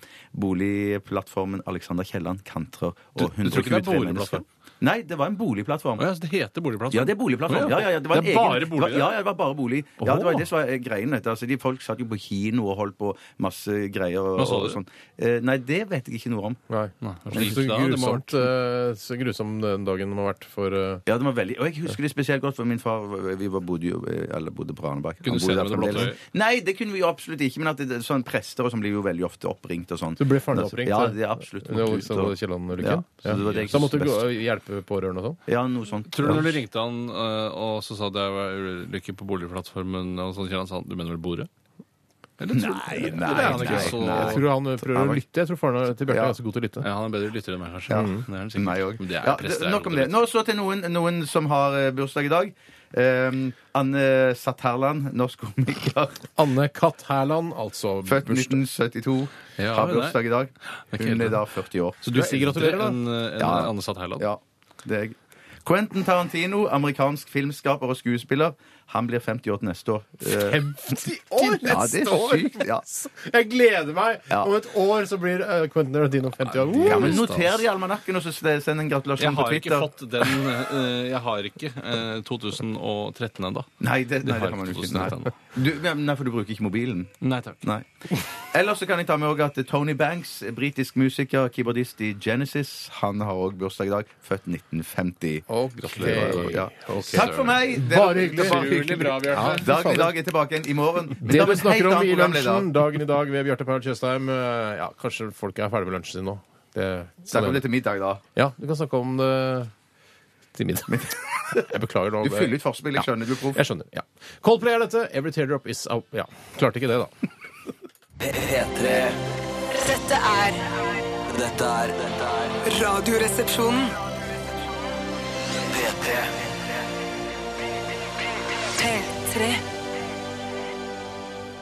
boligplattformen Alexander Kielland kantrer Du- og du tror ikke det er 123 mennesker. boligplattform? Nei, det var en boligplattform. Å ja, så det heter boligplass. Ja, det er boligplattform. Å Ja, ja, ja, det var en det er egen- bare det var- boliger. Ja, ja, det var bare bolig. Ja, det var Åh. det som var eh, greien. vet du. Altså, de folk satt jo på kino og holdt på masse greier. Og, Hva sa og du? sånn. Eh, nei, det vet jeg ikke noe om. Nei. Nei, det var Men Så slitsomt, det må ha grusomt, eh, så grusom den dagen må ha vært for eh, Ja, det var veldig, og Jeg husker det spesielt godt, for min far vi var, bodde jo eller bodde på Ranebakk. Kunne Han du bodde se der det med det blå fremdeles. Nei, det kunne vi jo absolutt ikke. Men at det, det- sånn prester og sånn blir jo veldig ofte oppringt og sånn. Du ble faren din oppringt? Ja, eh, det er absolutt. under måtte ut og- Alexander Kielland-ulykken? Ja, så det var det jeg Så da måtte du synes gå, hjelpe pårørende og sånn? Ja, noe sånt. Tror du Ja. når du ringte han eh, og så sa at det var ulykke på boligplattformen, og sånn, Kjelland sa han, du mener vel bordet? Eller tror du- Nei, Eller nei, er han ikke nei, så- nei. Jeg tror han eh, prøver å lytte. Jeg tror faren til Bjarte Ja. er ganske god til å lytte. Ja, han er bedre lytter enn meg, kanskje. Ja. Det er han sikkert. Meg òg. Men det er Ja, prester, det- nok om er jo det. Nå så til noen, noen som har eh, bursdag i dag. Eh, Anne Satterland, norsk komiker. Anne Katt Hærland, altså. Født bursdag. 1972. Ja, har men nei. bursdag i dag. ikke Hun er helt da 40 år. Så du sier gratulerer, da? En, en Ja. Anne Satt Heiland. Ja, det er jeg. Quentin Tarantino, amerikansk filmskaper og skuespiller. Han blir 58 neste år. Eh, 50 år Ja, det er neste år! sykt, ja. Jeg gleder meg! Ja. Om et år så blir eh, Quentin Tarantino 50 år. Ja, men Noter det i almanakken, og så s- send en Jeg gratulasjon på har ikke Twitter. fått den eh, Jeg har ikke eh, 2013 ennå. Nei, det, nei, har det kan man jo ikke ikke. Nei. Noter. Du, ja, men nei, for du bruker ikke mobilen. Nei takk. Nei. Ellers så kan jeg ta med også at Tony Banks, britisk musiker, keyboardist i Genesis, han har òg bursdag i dag. Født 1950. Ok. Ja. Ok. Takk for meg! Det Bare var- hyggelig. det var Utrolig bra, Bjarte. Ja. Dagen i dag er tilbake igjen i morgen. Men da Det med vi en snakker helt om i annen programleder. lunsjen, dagen i dag ved Bjarte Paul Tjøstheim eh, Ja, kanskje folk er ferdig med lunsjen sin nå. Det, Snakk om det til middag, da. Ja, du kan snakke om det til middag. Jeg beklager nå. Du fyller ut forspillet, jeg skjønner du, proff. Jeg skjønner, ja. Coldplay er dette. Every teardrop is out. Ja, klarte ikke det, da. P3 Dette er Dette er dette er Radioresepsjonen. P3 P3.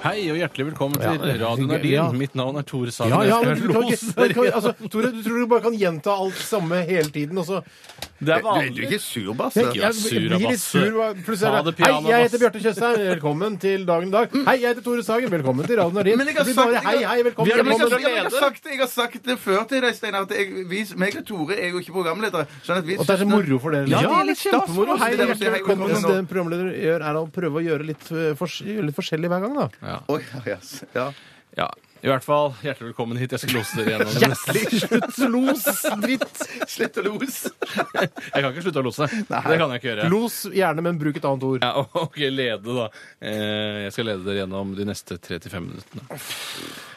Hei og hjertelig velkommen Ja, til det- Radio Nardin. ja. Mitt navn er Tore Sagen. Ja, ja, Jeg men skal du, kan rose ikke, men kan, dere. altså, Tore, du tror du bare kan gjenta alt samme hele tiden, og så Det er Du er du er vanlig. ikke sur, Basse? jeg, jeg, sur, blir litt Basse. sur. hva- Plutselig Ta er det det Hei, piano, jeg heter Basse. Bjarte Tjøstheim. Velkommen til dagen i dag. Hei, jeg heter Tore Sagen. Velkommen til Radio Nardin. Men jeg Det har blir bare sagt- Hei, hei, velkommen. Vi er Ja, men velkommen. Velkommen. jeg, har- ja, men jeg, har sagt, jeg har sagt det før til deg, Steinar, at jeg, vi, meg og Tore er jo ikke programledere. Sånn at vi Og det er så moro for dere. Ja, liksom. det er litt stas for oss. Hei, Det er hjertelig velkommen. velkommen. Det en programleder gjør, er å prøve å gjøre litt, eh, fors- gjøre litt forskjellig hver gang, da. Oi, ja, yes. ja. Ja. I hvert fall, hjertelig velkommen hit. Jeg skal lose dere gjennom det meste. Slutt los, dritt! Slutt å lose! Jeg kan ikke slutte å lose. Det kan jeg ikke gjøre. Los gjerne, men bruk et annet ord. Ja, ok, lede da. Eh, Jeg skal lede dere gjennom de neste 3-5 minuttene.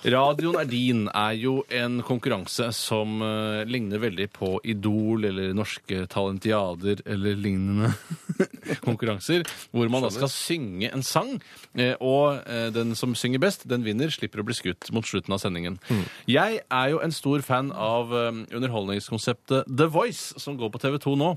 Radioen er din er jo en konkurranse som eh, ligner veldig på Idol eller Norske Talentiader eller lignende konkurranser, hvor man da skal synge en sang, eh, og eh, den som synger best, den vinner, slipper å bli skutt mot slutten av sendingen. Jeg er jo en stor fan av eh, underholdningskonseptet The Voice, som går på TV 2 nå.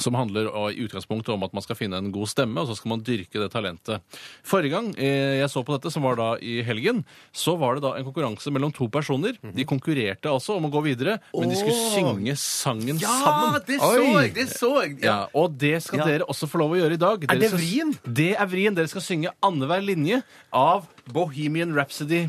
Som handler eh, i utgangspunktet om at man skal finne en god stemme, og så skal man dyrke det talentet. Forrige gang eh, jeg så på dette, som var da i helgen, så var det da en konkurranse mellom to personer. Mhm. De konkurrerte altså om å gå videre, men de skulle synge sangen sammen. det så Oi. jeg! Det så jeg! Ja. Ja, og det skal dere også få lov å gjøre i dag. Dere det skal- vrien? Det er vrien. Dere skal synge annenhver linje av Bohemian Rhapsody.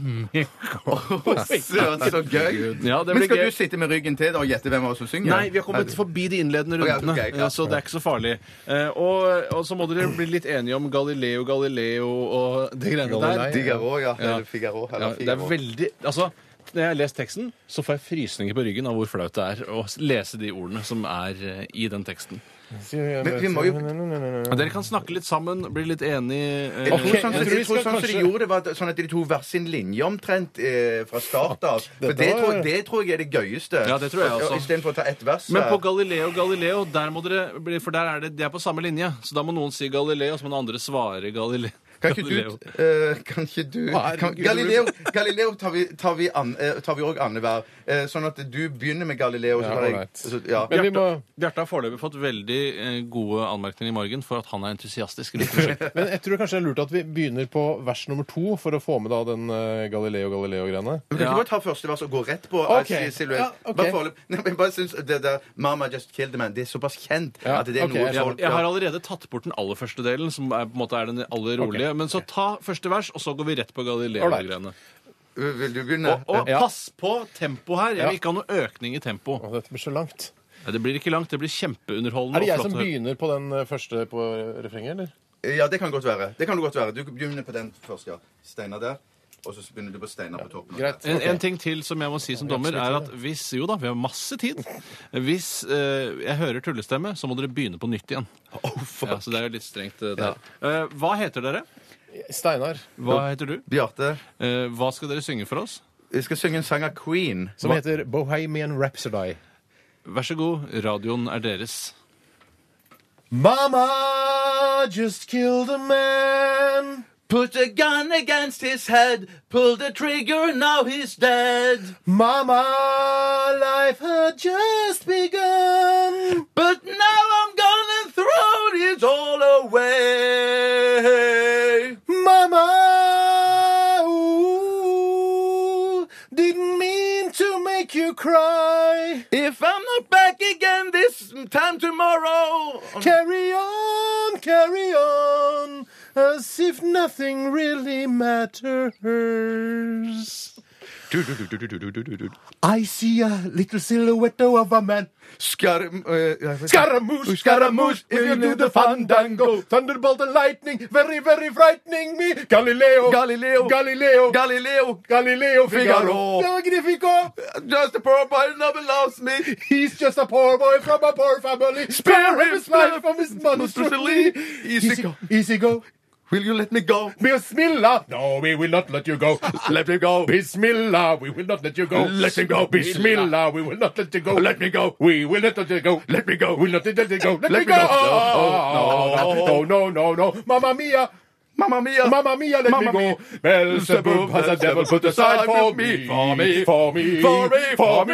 Søren, så gøy! Ja, det Mm. Men blir skal gøy. du sitte med ryggen til da og gjette hvem av oss som synger? Nei, vi har kommet forbi de innledende Ok, rundene, ok, klart. så det er ikke så farlig. Eh, Og, og så må dere bli litt enige om Galileo Galileo og de greiene Galilei. der. Figaro, ja. Ja. Eller Figaro. Eller Ja, det er Figaro. veldig Altså, når jeg har lest teksten, så får jeg frysninger på ryggen av hvor flaut det er å lese de ordene som er eh, i den teksten. Men vi må jo- Dere kan snakke litt sammen, bli litt enige. eh, Jeg tror sånn, jeg jeg tror vi tror skal sånn som de kanskje- gjorde det, var at- sånn at de to hver sin linje omtrent eh, fra start av. For Dette det var- tror, det tror jeg er det gøyeste. Ja, det tror jeg også. Istedenfor å ta ett vers. eh, Men på her. Galileo Galileo, der må dere bli, for der er det, det er på samme linje. Så da må noen si Galileo, så må den andre svare Galileo. kan ikke du, Galileo. eh, kan ikke du kan, Herregud. Galileo, Galileo tar vi- tar vi an- eh, tar vi òg annenhver. Eh, sånn at du begynner med Galileo. Så Ja, tar jeg, alright. så, ja. Men vi må Bjarte har foreløpig fått veldig eh, gode anmerkninger i morgen for at han er entusiastisk. rundt prosjektet. Men jeg tror kanskje det er lurt at vi begynner på vers nummer to for å få med da den eh, Galileo Galileo-greiene. Du kan Ja. ikke bare ta første vers og gå rett på. Ok. eh, si- silhuett. Ja, ok. Bare foreløp- Nei, men bare syns det der Mama Just Killed a Man det er såpass kjent Ja, at det er ok, jeg noe skjønner. folk Jeg har allerede tatt bort den aller første delen, som er, på en måte er den aller rolige. Men så ta første vers, og så går vi rett på Galileo-greiene. Vil du begynne? Og, og Ja. pass på tempo her. Jeg Ja. vil ikke ha noe økning i tempo. Å, dette blir så langt. Nei, Det blir ikke langt. Det blir kjempeunderholdende. Er det og jeg som flott å høre. begynner på den eh, første på refrenget, eller? Ja, det kan godt være. Det kan du godt være. Du begynner på den først, ja. Steinar der. Og så begynner du på Steinar på toppen. Greit. En, en Ok. ting til som jeg må si som dommer, er at hvis Jo da, vi har masse tid. Hvis eh, jeg hører tullestemme, så må dere begynne på nytt igjen. Oh, Ja, så det er jo litt strengt, eh, der. Eh, hva heter dere? Steinar, Hva heter du? Bjarte, Eh, hva skal dere synge for oss? jeg skal synge en sang av Queen. som heter Bohemian Rhapsody. Vær så god, radioen er deres. Mama just killed a man. Put a gun against his head, pull the trigger, now he's dead. Mama, life had just begun. But now I'm gonna throw it all away. Mama, ooh, didn't mean to make you cry. If I'm not back again this time tomorrow. Carry on, carry on, as if nothing really matters. I see a little silhouette of a man. uh, Skarm... Scaramouche, Scaramouche, if you do the fandango. Thunderbolt and lightning, very, very frightening me. Galileo, Galileo. Galileo, Galileo. Galileo Figaro. Uh, Figaro. Magnifico. Just a poor boy, nobody loves me. He's just a poor boy from a poor family. Spare him his life from his monstrosity. Easy go. easy go. Will you let me go? Bismillah! No, we will not let you go. let me go. Bismillah, we will not let you go. Let him go. Bismillah, we will not let you go. Let me go. We will not let you go. Let me go. We will not let you go. Let, me go. Oh, No, no, no, no. Mamma mia. Mamma mia! Mamma mia, let Mamma me mia. go. Beelzebub has a devil put aside for me. For me. For me. For me. For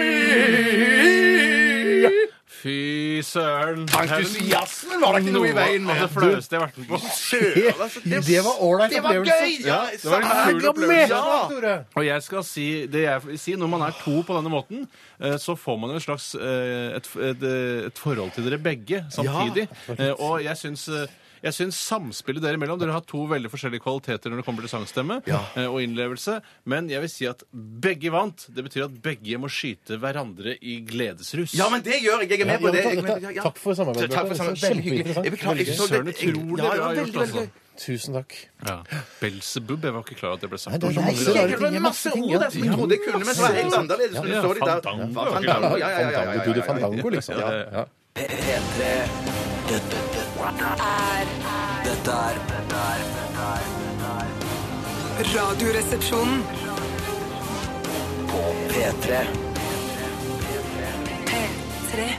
me. Fy søren! Entusiasmen var det ikke noe i veien Noe av det med. flaueste jeg har vært med på. Det var ålreit altså, Det var gøy! Ja, det var en sant. kul opplevelse. Og jeg skal si det jeg vil si, når man er to på denne måten, eh, så får man jo en slags eh, et, et, et forhold til dere begge samtidig. Eh, Og jeg syns eh, jeg syns samspillet dere imellom Dere har to veldig forskjellige kvaliteter når det kommer til sangstemme eh, og innlevelse, men jeg vil si at begge vant. Det betyr at begge må skyte hverandre i gledesrus. Ja, men det gjør jeg. Jeg er med på det. Jeg- Takk for samarbeidet. Takk for samarbeidet. Veldig hyggelig. Jeg beklager. Jeg så det- Søren, utrolig Ja, ja, bra gjort, veldig, veldig altså. gøy. Tusen takk. Ja. Belzebub? Jeg var ikke klar over at det ble sagt. Nei, det er Det var masse Det rare er ting, vel masse ting, ord ja. der som jeg trodde jeg kunne, men som var helt annerledes. Så Ja, står de der. fandango. Ja, fandango, ja, ja, ja, ja, ja, Fandango, ja, du, ja, ja. fandango, liksom. Ja, ja. P3 Dette er er Dette er dette er- dette er Radioresepsjonen. På P3 P3.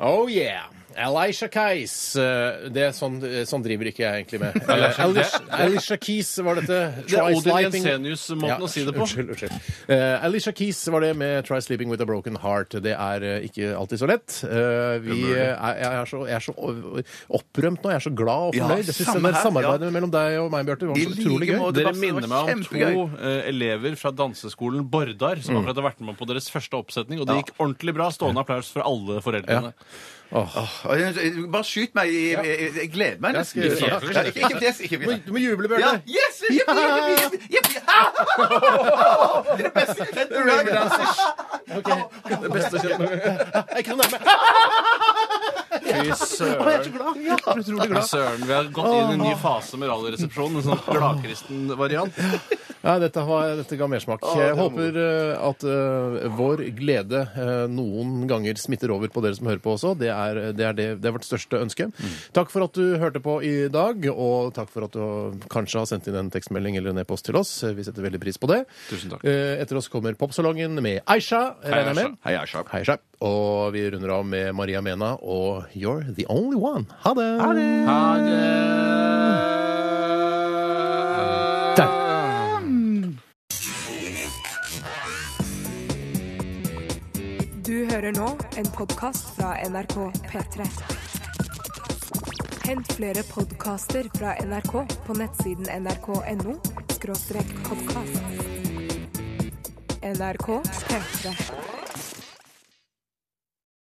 Oh yeah! Alicia Keys. eh, Det er sånn, eh, sånn driver ikke jeg egentlig med. Eh, Alicia, Alicia Keys var dette. Det er Try Odin Sleeping- Jensenius-måten å si det på. Unnskyld. unnskyld. Eh, Alicia Keys var det med 'Try Sleeping With A Broken Heart'. Det er eh, ikke alltid så lett. Eh, vi, eh, er, jeg, er så, jeg er så o- opprømt nå. Jeg er så glad og Ja, fornøyd. Jeg synes samme det her, samarbeidet mellom deg og meg, Bjarte, var I så utrolig like gøy. måte. Dere Sebastian, minner det var meg om to kjempegøy. eh, elever fra danseskolen Bordar som akkurat har vært med på deres første oppsetning, og det gikk ordentlig bra. Stående applaus fra alle foreldrene. Og jeg- Bare skyt meg. i- Jeg jeg gleder meg Jeg nesten. skal gjøre det. Ja, ikke- ikke fjes, ikke Du må, fjes. du må juble, Ja, Bjarte. yes! Jippi, jippi, jippi, jippi, jippi. Ah! Det er det beste jeg vet. Det beste jeg kjenner. Jeg kan nærme Fy Ja, jeg søren. er utrolig Fy glad. søren. Vi har gått inn i en ny fase med Radioresepsjonen. En sånn gladkristen variant. Ja, dette, har, dette ga mersmak. Jeg håper eh, at eh, vår glede eh, noen ganger smitter over på dere som hører på også. Det er, det er, det, det er vårt største ønske. Takk for at du hørte på i dag, og takk for at du kanskje har sendt inn en tekstmelding eller en e-post til oss. Eh, Vi setter veldig pris på det. Tusen takk. Eh, Etter oss kommer Popsalongen med Aisha. regner jeg med. Hei, Aisha. Hei, Aisha. Og vi runder av med Maria Mena og You're the Only One. Ha det! Ha det! Ha det! Du hører nå en podkast fra NRK P3. Hent flere podkaster fra NRK på nettsiden nrk.no podkast. NRK P3.